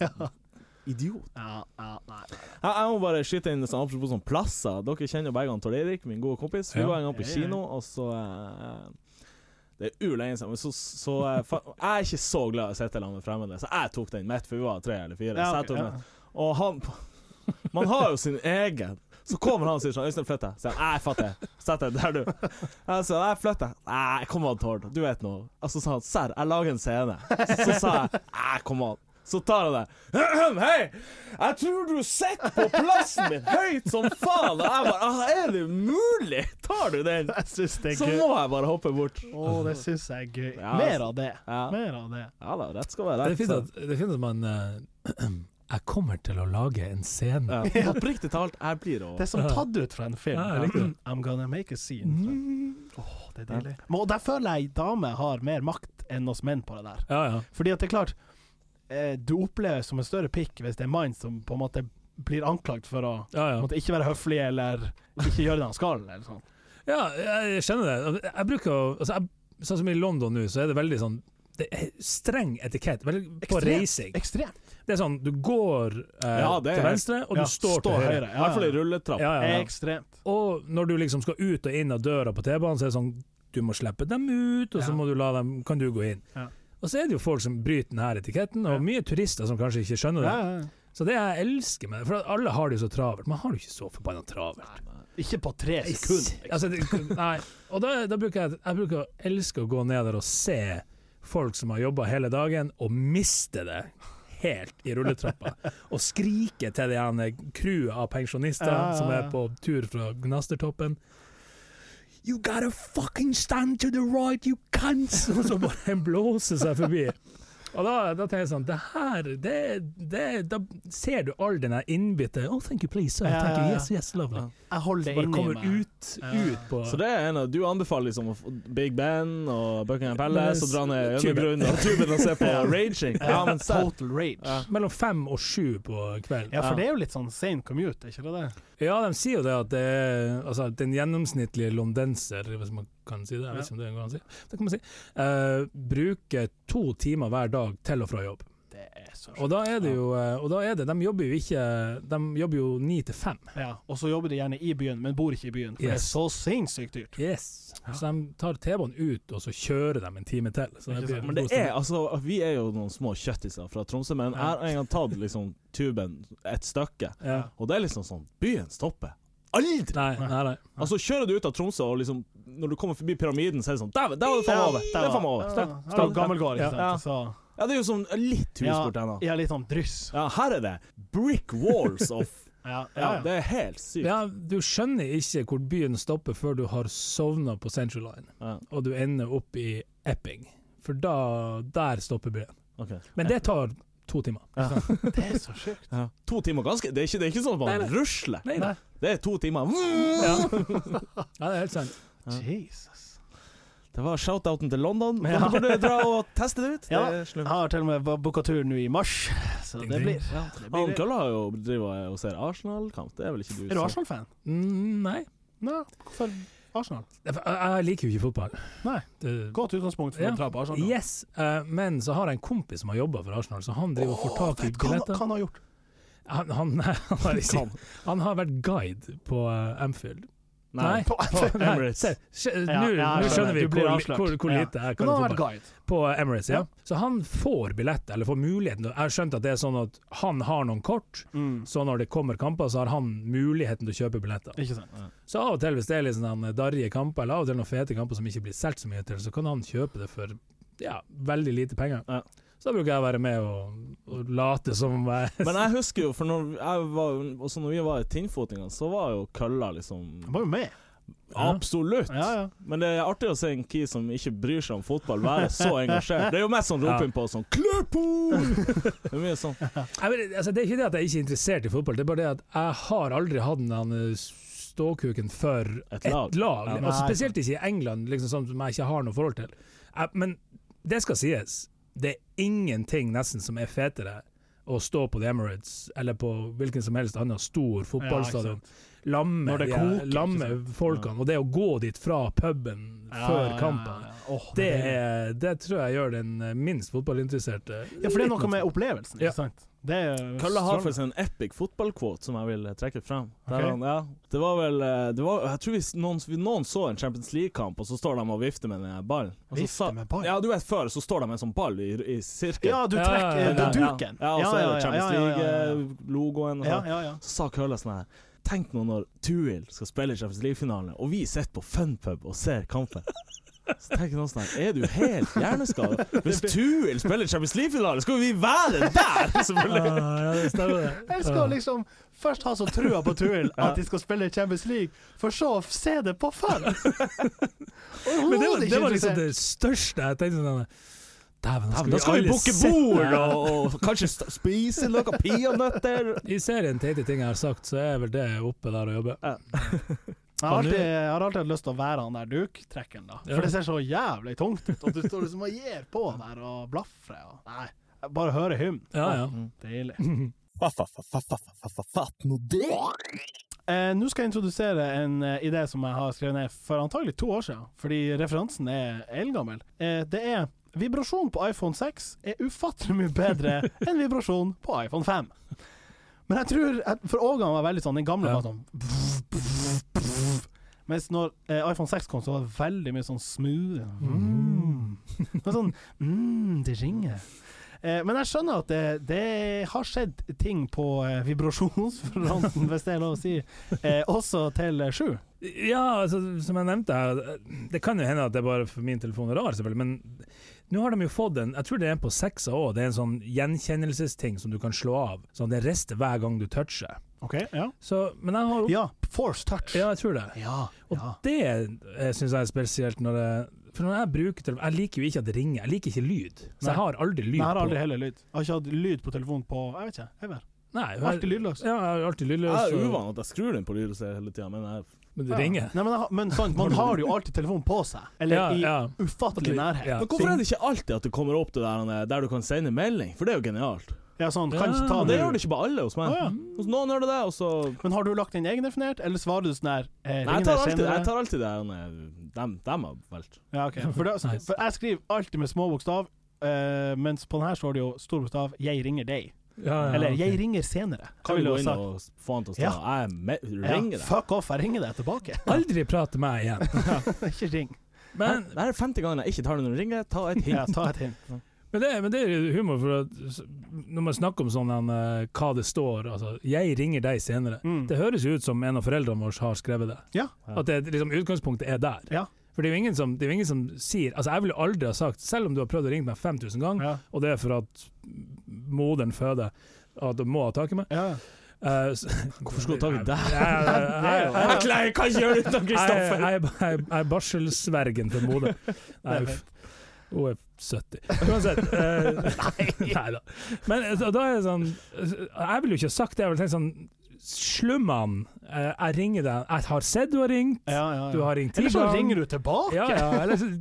Speaker 3: idiot.
Speaker 1: Ja, ja, nei.
Speaker 3: Jeg, jeg må bare skyte inn sånn, apropos sånn plasser. Dere kjenner jo begge han Tor Erik, min gode kompis. Vi
Speaker 2: Ja.
Speaker 3: var en gang på
Speaker 1: Ja, ja, ja.
Speaker 3: kino, og så eh, Det er ulenge siden, men så, så eh, fa Jeg er ikke så glad i å sitte sammen med fremmede, så jeg tok den midt, for vi var tre eller fire.
Speaker 1: Ja,
Speaker 3: så
Speaker 1: ok,
Speaker 3: jeg tok
Speaker 1: ja.
Speaker 3: den. Og han Man har jo sin egen. Så kommer han og sier sånn 'Øystein, flytt deg.' Sier han 'Jeg fatter. Sett deg der, du.' Jeg sa 'Jeg flytter.' 'Nei, kom an, Tord. Du vet nå.' Og så sa han 'Serr, jeg lager en scene.' Så sa jeg 'Nei, kom an'. Så tar han det. 'Hei, jeg tror du sitter på plassen min høyt som faen.' Og jeg bare «Ah, 'Er det mulig? Tar du den?'
Speaker 1: Jeg syns det
Speaker 3: Så
Speaker 1: er gøy.
Speaker 3: må jeg bare hoppe bort.
Speaker 1: Å, det syns jeg er gøy.
Speaker 3: Ja, altså.
Speaker 1: Mer av det.
Speaker 3: Ja,
Speaker 1: Mer av det.
Speaker 3: ja da, rett skal være
Speaker 2: Det er
Speaker 3: rett.
Speaker 2: fint at, det er fint at man eh, Jeg kommer til å lage en scene.
Speaker 3: så- ja. Oppriktig talt, jeg blir å
Speaker 1: Det er som tatt ut fra en film. Mm,
Speaker 2: Ja, jeg liker det.
Speaker 1: I'm gonna make a scene.
Speaker 2: Mm.
Speaker 1: Åh, det er deilig. Men, og der føler jeg damer har mer makt enn oss menn på det der.
Speaker 2: Ja, ja.
Speaker 1: Fordi at det er klart, eh, du oppleves som en større pikk hvis det er mann som på en måte blir anklagd for å
Speaker 2: ja,
Speaker 1: på en
Speaker 2: ja.
Speaker 1: måte, ikke være høflig eller ikke gjøre det han skal. Eller sånn.
Speaker 2: ja jeg skjønner det. Jeg bruker å altså, jeg, Sånn som i London nå, så er det veldig sånn det er streng etikett veldig, på
Speaker 1: Ekstremt.
Speaker 2: reising.
Speaker 1: Ekstremt.
Speaker 2: Det er sånn, du går eh,
Speaker 3: Ja, det er
Speaker 2: til
Speaker 3: helt-
Speaker 2: venstre, og
Speaker 1: Ja,
Speaker 2: du står,
Speaker 1: står
Speaker 2: til høyre.
Speaker 1: høyre.
Speaker 3: I hvert fall i rulletrapp.
Speaker 2: Ja, ja, ja.
Speaker 1: Ekstremt.
Speaker 2: Og når du liksom skal ut og inn av døra på T-banen, så er det sånn Du må slippe dem ut, og så
Speaker 1: Ja.
Speaker 2: må du la dem, kan du gå inn.
Speaker 1: Ja.
Speaker 2: Og så er det jo folk som bryter denne etiketten, og
Speaker 1: Ja.
Speaker 2: mye turister som kanskje ikke skjønner det.
Speaker 1: Ja, ja, ja.
Speaker 2: Så det jeg elsker med det, for at alle har det jo så travelt. Man har det jo ikke så forbanna travelt.
Speaker 1: Ikke på tre sekunder. liksom.
Speaker 2: Altså, det, nei. Og da, da bruker jeg Jeg bruker å elske å gå ned der og se folk som har jobba hele dagen, og miste det helt i rulletrappa. Og skrike til de ene crewet av pensjonister
Speaker 1: Ja, ja,
Speaker 2: som
Speaker 1: ja.
Speaker 2: er på tur fra Gnastertoppen. You gotta fucking stand to the right, you cunts! Og så bare blåser seg forbi. Og da, da tenker jeg sånn Det her det, det, Da ser du all den der innbitte Oh, thank you, please. Sir.
Speaker 1: Ja,
Speaker 2: Thank
Speaker 1: ja,
Speaker 2: you.
Speaker 1: ja.
Speaker 2: Yes, yes, lovely.
Speaker 3: Ja.
Speaker 1: Jeg holder det
Speaker 2: Bare
Speaker 1: inni
Speaker 2: kommer
Speaker 1: meg.
Speaker 2: ut,
Speaker 1: Ja.
Speaker 2: ut på
Speaker 3: Så det er en av, du anbefaler liksom å få Big Ben og Buckingham Palace
Speaker 2: Men-
Speaker 3: og dra ned i
Speaker 2: tuben.
Speaker 3: undergrunnen og tuben og se på
Speaker 1: Ja.
Speaker 3: raging.
Speaker 1: Ja,
Speaker 3: Ja, men se.
Speaker 1: Total rage. Ja.
Speaker 3: Ja.
Speaker 2: Mellom fem og sju på kvelden. Ja.
Speaker 1: for det er jo litt sånn sane commute, er ikke det det?
Speaker 2: de sier jo det at det er altså, at den gjennomsnittlige londenser, hvis man kan si det, jeg vet ikke om det går an å si, det kan man si, eh, bruker to timer hver dag til og fra jobb.
Speaker 1: Det er så
Speaker 2: Og da er det jo, eh, og da er det, de jobber jo ikke, de jobber jo ni til fem.
Speaker 1: Ja, og så jobber de gjerne i byen, men bor ikke i byen, for det er
Speaker 2: Yes.
Speaker 1: så sinnssykt dyrt.
Speaker 2: Yes. Så de tar T-banen ut, og så kjører de en time til. Så
Speaker 1: Ikke
Speaker 2: det blir
Speaker 1: sant,
Speaker 3: Men det
Speaker 2: god
Speaker 3: er
Speaker 2: stemning.
Speaker 3: altså Vi er jo noen små kjøttiser fra Tromsø, men jeg
Speaker 1: Ja.
Speaker 3: har en gang tatt liksom tuben et stykke,
Speaker 2: ja.
Speaker 3: og det er liksom sånn Byen stopper aldri!
Speaker 2: Nei, nei, nei.
Speaker 3: Altså, kjører du ut av Tromsø, og liksom når du kommer forbi pyramiden, så er det sånn Der, der var det faen over! Der var det faen over.
Speaker 1: Ja,
Speaker 3: Stopp,
Speaker 1: her er jo
Speaker 3: stopp.
Speaker 1: Gammelgård, ikke
Speaker 3: Ja.
Speaker 1: sant. Så,
Speaker 3: Ja, det er jo sånn litt hus
Speaker 1: Ja.
Speaker 3: bort ennå.
Speaker 1: ja, litt sånn dryss.
Speaker 3: Ja, her er det brick walls of
Speaker 1: Ja, ja,
Speaker 3: Ja,
Speaker 1: ja.
Speaker 3: det er helt sykt.
Speaker 2: Ja, du skjønner ikke hvor byen stopper før du har sovna på Central Line,
Speaker 3: Ja.
Speaker 2: og du ender opp i Epping. For da, der stopper byen.
Speaker 3: Ok.
Speaker 2: Men det tar to timer.
Speaker 1: Det er så sjukt.
Speaker 3: Ja. To timer ganske Det er ikke, det er ikke sånn at man
Speaker 2: Nei, nei.
Speaker 3: rusler.
Speaker 2: Nei, nei.
Speaker 3: Det er to timer.
Speaker 2: Ja. ja, det er helt sant.
Speaker 3: Ja.
Speaker 1: Jesus.
Speaker 3: Det var shoutouten til London.
Speaker 1: Ja.
Speaker 3: Dere burde dra og teste det ut.
Speaker 1: Ja.
Speaker 3: Det er
Speaker 1: Jeg
Speaker 3: slutt.
Speaker 1: har til og med booka tur nå i mars, så det
Speaker 2: Ding, ding.
Speaker 1: blir, det
Speaker 3: Han
Speaker 1: blir
Speaker 3: Kalle har jo driver og ser Arsenal-kamp. Det er vel ikke du
Speaker 1: Er du
Speaker 3: så-
Speaker 1: Arsenal-fan?
Speaker 2: Mm, nei.
Speaker 1: Nei, hvorfor Arsenal?
Speaker 2: Jeg, jeg liker jo ikke fotball.
Speaker 1: Nei.
Speaker 2: Det,
Speaker 1: Godt utgangspunkt for
Speaker 2: Ja.
Speaker 1: å dra på Arsenal.
Speaker 2: yes, eh, men så har jeg en kompis som har jobba for Arsenal, så han driver og får tak i
Speaker 1: Vet du hva han- hva
Speaker 2: billetter.
Speaker 1: han har gjort?
Speaker 2: Han, han, han, har,
Speaker 3: Kan.
Speaker 2: han har vært guide på eh, Anfield. Nei.
Speaker 1: På,
Speaker 2: På- nei,
Speaker 3: Emirates.
Speaker 2: se, skj-
Speaker 1: Ja,
Speaker 2: Nå
Speaker 1: ja, jeg
Speaker 2: nå skjønner
Speaker 1: skjønner.
Speaker 2: vi
Speaker 1: Du blir
Speaker 2: hvor,
Speaker 1: avslørt.
Speaker 2: hvor, hvor
Speaker 1: Ja.
Speaker 2: lite jeg
Speaker 1: men
Speaker 2: kan
Speaker 1: han har
Speaker 2: få
Speaker 1: vært
Speaker 2: på.
Speaker 1: guide.
Speaker 2: På Emirates, ja.
Speaker 1: Ja.
Speaker 2: Så han får billett, eller får muligheten. Jeg har skjønt at det er sånn at han har noen kort, så når det kommer kamper, så har han muligheten til å kjøpe billetter.
Speaker 1: Ikke sant.
Speaker 2: Så av og til, hvis det er litt sånn eh, darrige kamper, eller av og til noen fete kamper som ikke blir solgt så mye til, så kan han kjøpe det for ja, veldig lite penger.
Speaker 3: Ja.
Speaker 2: Så da bruker jeg å være med og, og late som jeg
Speaker 3: Men jeg husker jo, for når, jeg var, også når vi var i Tinnfotinga, så var jo kølla
Speaker 1: Han
Speaker 3: liksom
Speaker 1: var jo med.
Speaker 3: Absolutt!
Speaker 1: Ja, ja.
Speaker 3: Men det er artig å se en key som ikke bryr seg om fotball, være så engasjert. Det er jo mest sånn roping på sånn 'Klørpool!' Det er mye sånn.
Speaker 2: Jeg vet, altså, det er ikke det at jeg ikke er interessert i fotball, det er bare det at jeg har aldri hatt den eh, ståkuken for
Speaker 3: Et
Speaker 2: et
Speaker 3: lag.
Speaker 2: lag.
Speaker 3: Ja,
Speaker 2: altså,
Speaker 1: nei.
Speaker 2: spesielt ikke i England, liksom, sånn som jeg ikke har noe forhold til. Jeg- men det skal sies, det er ingenting nesten som er fetere å stå på The Emirates eller på hvilken som helst annen stor fotballstadion. lamme,
Speaker 1: Når det
Speaker 2: de-
Speaker 1: koker, ikke
Speaker 2: lamme folkene, og det å gå dit fra puben før kampen. Det, er, det tror jeg gjør den eh, minst fotballinteresserte
Speaker 1: Ja, for det er noe med opplevelsen,
Speaker 2: Ja.
Speaker 1: ikke sant? Det er sånn-
Speaker 3: Kalle har faktisk en epic fotballquote som jeg vil eh, trekke frem. Der
Speaker 1: Ok.
Speaker 3: han, ja, det var vel eh, det var, Jeg tror vi, s- noen, vi, noen så en Champions League-kamp, og så står de og vifter med den her ballen. Og så
Speaker 1: Vifter
Speaker 3: sa-
Speaker 1: med ballen?
Speaker 3: Ja, du vet før, så står de med en sånn ball i, i sirkel.
Speaker 1: Ja, du
Speaker 2: Ja,
Speaker 1: trekker
Speaker 2: ja,
Speaker 1: eh,
Speaker 2: ja, ja.
Speaker 1: duken.
Speaker 3: Ja, og så er det Champions
Speaker 1: ja, ja, ja, ja.
Speaker 3: League-logoen. og
Speaker 1: Ja,
Speaker 3: sånn.
Speaker 1: ja, ja.
Speaker 3: Så sa Kølla sånn her Tenk nå når Tuil skal spille i Champions League-finalen, og vi sitter på funpub og ser kampen. Så tenker noen sånn her Er du helt hjerneskada? Hvis Tuil spiller i Champions League-finalen, skal jo vi være der! Selvfølgelig.
Speaker 2: Ah, ja, det stemmer det. Ah.
Speaker 1: Jeg skal liksom først ha så trua på Tuil at de skal spille i Champions League, for så å se det på fun!
Speaker 2: Men det var,
Speaker 1: Overhodet
Speaker 2: det
Speaker 1: ikke
Speaker 2: var liksom
Speaker 1: interessert.
Speaker 2: det største jeg tenkte sånn Dæven,
Speaker 3: Ja, men da skal vi
Speaker 2: alle
Speaker 3: bukke
Speaker 2: sette-
Speaker 3: bord og, og kanskje st- spise noen peanøtter.
Speaker 2: I serien Teite ting jeg har sagt, så er vel det oppe der og jobber.
Speaker 1: Jeg har alltid, jeg har alltid hatt lyst til å være han der duktrekkeren, da.
Speaker 2: Ja.
Speaker 1: For det ser så jævlig tungt ut, og du står liksom og gir på der og blafrer. Og. Nei, jeg bare høre hymn.
Speaker 2: Ja, ja.
Speaker 1: Deilig.
Speaker 4: Fatt nå det!
Speaker 1: Eh, Nå skal jeg introdusere en eh, idé som jeg har skrevet ned for antagelig to år siden, fordi referansen er eldgammel. Eh, det er vibrasjon på iPhone 6 er ufattelig mye bedre enn vibrasjon på iPhone 5. Men jeg tror at For Ågan var veldig sånn Den gamle
Speaker 2: Ja.
Speaker 1: var sånn Mens når eh, iPhone 6 kom, så var det veldig mye sånn smooth mm. Det var sånn mm, Det ringer. Eh, men jeg skjønner at det, det har skjedd ting på eh, vibrasjonsfronten, hvis det er lov å si, eh, også til eh, sju.
Speaker 2: Ja, altså, som jeg nevnte, her, det kan jo hende at det er bare for min telefon er rar, selvfølgelig, men nå har de jo fått en Jeg tror det er en på seksa òg. Det er en sånn gjenkjennelsesting som du kan slå av. Sånn det rister hver gang du toucher.
Speaker 1: Ok, ja.
Speaker 2: Så, men jeg har jo
Speaker 1: Ja, force touch.
Speaker 2: Ja, jeg tror det.
Speaker 1: Ja,
Speaker 2: Og
Speaker 1: ja.
Speaker 2: det syns jeg er spesielt når det For når jeg bruker telefon Jeg liker jo ikke at det ringer, jeg liker ikke lyd. Så
Speaker 1: Nei.
Speaker 2: jeg har aldri lyd
Speaker 1: Men jeg har
Speaker 2: på.
Speaker 1: aldri heller lyd. Jeg har ikke hatt lyd på telefonen på Jeg vet ikke. Ever.
Speaker 2: Nei, jeg-
Speaker 1: Alltid lydløs.
Speaker 2: Ja, jeg har alltid
Speaker 3: Jeg
Speaker 2: lydløs.
Speaker 3: er
Speaker 2: og-
Speaker 3: uvant at jeg skrur den på lyd og ser hele tida, men jeg,
Speaker 2: Men det
Speaker 1: Ja.
Speaker 2: ringer.
Speaker 1: Nei, men, jeg har- men sant, man har jo alltid telefonen på seg. Eller
Speaker 2: Ja,
Speaker 1: i
Speaker 2: ja.
Speaker 1: ufattelig nærhet.
Speaker 2: Ja.
Speaker 3: Men hvorfor er det ikke alltid at det kommer opp det der, eh, der du kan sende melding? For det er jo genialt.
Speaker 1: Ja, sånn, kan ikke ta
Speaker 3: Og
Speaker 1: den
Speaker 3: det gjør
Speaker 1: nå.
Speaker 3: det ikke på alle hos meg.
Speaker 1: Å, ja.
Speaker 3: Hos noen gjør det det, og så
Speaker 1: Men har du lagt inn egendefinert, eller svarer du sånn her eh,
Speaker 3: Nei,
Speaker 1: ring
Speaker 3: jeg
Speaker 1: deg
Speaker 3: tar alltid,
Speaker 1: senere?
Speaker 3: jeg tar alltid det her eh, dem, dem har valgt.
Speaker 1: Ja, ok. For, da-
Speaker 2: Nice.
Speaker 1: for jeg skriver alltid med små bokstav, eh, mens på den her står det jo stor bokstav 'Jeg ringer deg'.
Speaker 2: Ja, ja,
Speaker 1: Eller
Speaker 2: ok.
Speaker 1: 'Jeg ringer senere'.
Speaker 3: Ah, Kan
Speaker 1: Ville
Speaker 3: vi gå
Speaker 1: jo
Speaker 3: inn
Speaker 1: sagt-
Speaker 3: og s- få han til å stå? Jeg er med,
Speaker 1: ja,
Speaker 3: ringer deg.
Speaker 1: Fuck off, jeg ringer deg tilbake.
Speaker 2: Aldri prat med meg igjen.
Speaker 1: ikke ring.
Speaker 2: Men,
Speaker 3: Det her er femte gangen jeg ikke tar den når den ringer. Ta et
Speaker 1: Ja,
Speaker 3: hint.
Speaker 1: ta et hint.
Speaker 2: men, det, men det er jo humor, for at s- når man snakker om sånn eh, hva det står altså, 'Jeg ringer deg senere',
Speaker 1: Mm.
Speaker 2: det høres jo ut som en av foreldrene våre har skrevet det.
Speaker 1: Ja.
Speaker 2: At det, liksom, utgangspunktet er der.
Speaker 1: Ja.
Speaker 2: For det er jo ingen som, det er jo ingen som sier Altså, jeg ville aldri ha sagt, selv om du har prøvd å ringe meg 5000
Speaker 3: Mm.
Speaker 2: ganger,
Speaker 1: Ja.
Speaker 2: og det er for at moderen føder at du må ha tak i meg Eh,
Speaker 1: Ja.
Speaker 2: Hvorfor
Speaker 3: skulle hun ha tak i deg?
Speaker 2: deg?
Speaker 1: Ja.
Speaker 3: Jeg klarer- jeg kan ikke gjøre det uten
Speaker 2: Jeg,
Speaker 3: Kristoffer!
Speaker 2: jeg, jeg, jeg er barselsvergen til Bodø. Nei,
Speaker 1: Det er
Speaker 2: uff. Hun er 70. Uansett. Eh, nei da. Men eh, så da er det sånn Jeg ville jo ikke ha sagt det. Jeg ville tenkt sånn Slumman, eh, jeg ringer deg. Jeg har sett du har ringt.
Speaker 1: Ja, ja, ja.
Speaker 2: Du har ringt ti
Speaker 1: Eller så
Speaker 2: ganger.
Speaker 1: ringer du tilbake!
Speaker 2: Ja, ja. Eller så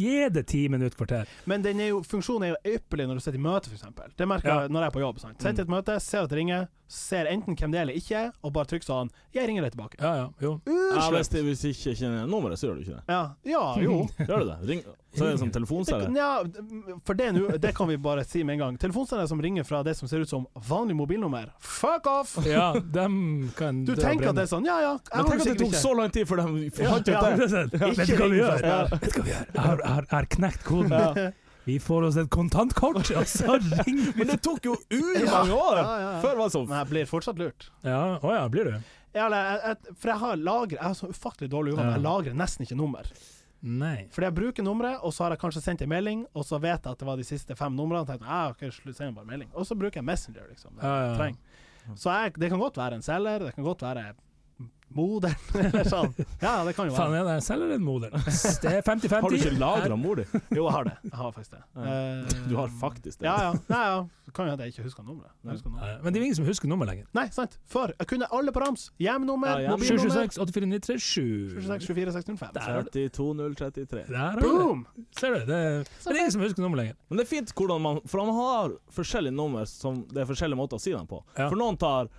Speaker 2: gi det ti minutter, kvarter.
Speaker 1: Men den er jo, funksjonen er jo ypperlig når du sitter i møte, f.eks. Det merker
Speaker 2: Ja.
Speaker 1: jeg når jeg er på jobb. sant? Sitter i
Speaker 3: Mm.
Speaker 1: et møte, ser at det ringer, ser enten hvem det er eller ikke, og bare trykker sånn 'Jeg ringer deg tilbake'.
Speaker 2: Ja, ja. Jo.
Speaker 3: Ja, hvis,
Speaker 1: Usløst!
Speaker 3: det- hvis ikke kjenner nummeret, så gjør du ikke det.
Speaker 1: Ja, ja, jo.
Speaker 3: Gjør du det? Ring. Så er det en sånn telefonselger.
Speaker 1: Ja, for det, nu, det kan vi bare si med en gang. Telefonselgere som ringer fra det som ser ut som vanlig mobilnummer, fuck off!
Speaker 2: Ja, dem kan
Speaker 1: Du tenker at det er sånn, ja ja. jeg
Speaker 3: Men
Speaker 1: har
Speaker 3: tenk at det
Speaker 1: sikkert
Speaker 3: tok sånn. så lang tid før de
Speaker 1: Ja,
Speaker 3: fant ut
Speaker 1: ja.
Speaker 3: det!
Speaker 2: Vet
Speaker 1: Ikke
Speaker 2: du hva vi
Speaker 1: ring
Speaker 2: gjør?
Speaker 1: først, ja.
Speaker 2: Vet du hva vi gjør? Jeg har, jeg har, jeg har knekt koden.
Speaker 3: Ja.
Speaker 2: Vi får oss et kontantkort, og så ringer vi
Speaker 3: Men det tok jo
Speaker 1: Ja,
Speaker 3: urmange år!
Speaker 1: ja, ja.
Speaker 3: Før var det sånn.
Speaker 1: Men jeg blir fortsatt lurt.
Speaker 2: Ja, å ja, blir du?
Speaker 1: Ja, eller, jeg, jeg, for jeg har lagret, jeg har så ufattelig dårlig uvane,
Speaker 2: Ja.
Speaker 1: jeg lagrer nesten ikke nummer.
Speaker 2: Nei.
Speaker 1: Fordi jeg bruker nummeret, og så har jeg kanskje sendt en melding, og så vet jeg at det var de siste fem numrene, og tenkte jeg, ok, slutt, send bare melding. Og så bruker jeg Messenger, liksom. Det
Speaker 2: Ja, ja.
Speaker 1: jeg trenger. Så jeg, det kan godt være en selger, det kan godt være moderen, eller sånn. Ja, det kan jo
Speaker 2: Faen,
Speaker 1: være.
Speaker 2: er det en selger eller en moder? Det er 50-50.
Speaker 3: Har du ikke lagra mor di?
Speaker 1: Jo, jeg har det. Jeg har faktisk det.
Speaker 3: Ja.
Speaker 1: Eh,
Speaker 3: Du har faktisk det.
Speaker 1: Ja, ja. Nei, ja. Det Kan jo hende jeg ikke husker nummeret. Jeg husker nummeret.
Speaker 2: Nei, Men det er jo ingen som husker nummer lenger.
Speaker 1: Nei, sant. Før, jeg kunne alle på rams. Hjemnummer,
Speaker 3: Ja, hjem.
Speaker 1: mobilnummer.
Speaker 2: 726 84 937.
Speaker 1: 26, 24, 605.
Speaker 2: Der.
Speaker 3: 32033.
Speaker 2: Der har du det.
Speaker 1: Boom!
Speaker 2: Ser du, det er, men det er ingen som husker nummer lenger.
Speaker 3: Men det er fint hvordan man For man har forskjellige nummer som det er forskjellige måter å si dem på.
Speaker 2: Ja.
Speaker 3: For noen tar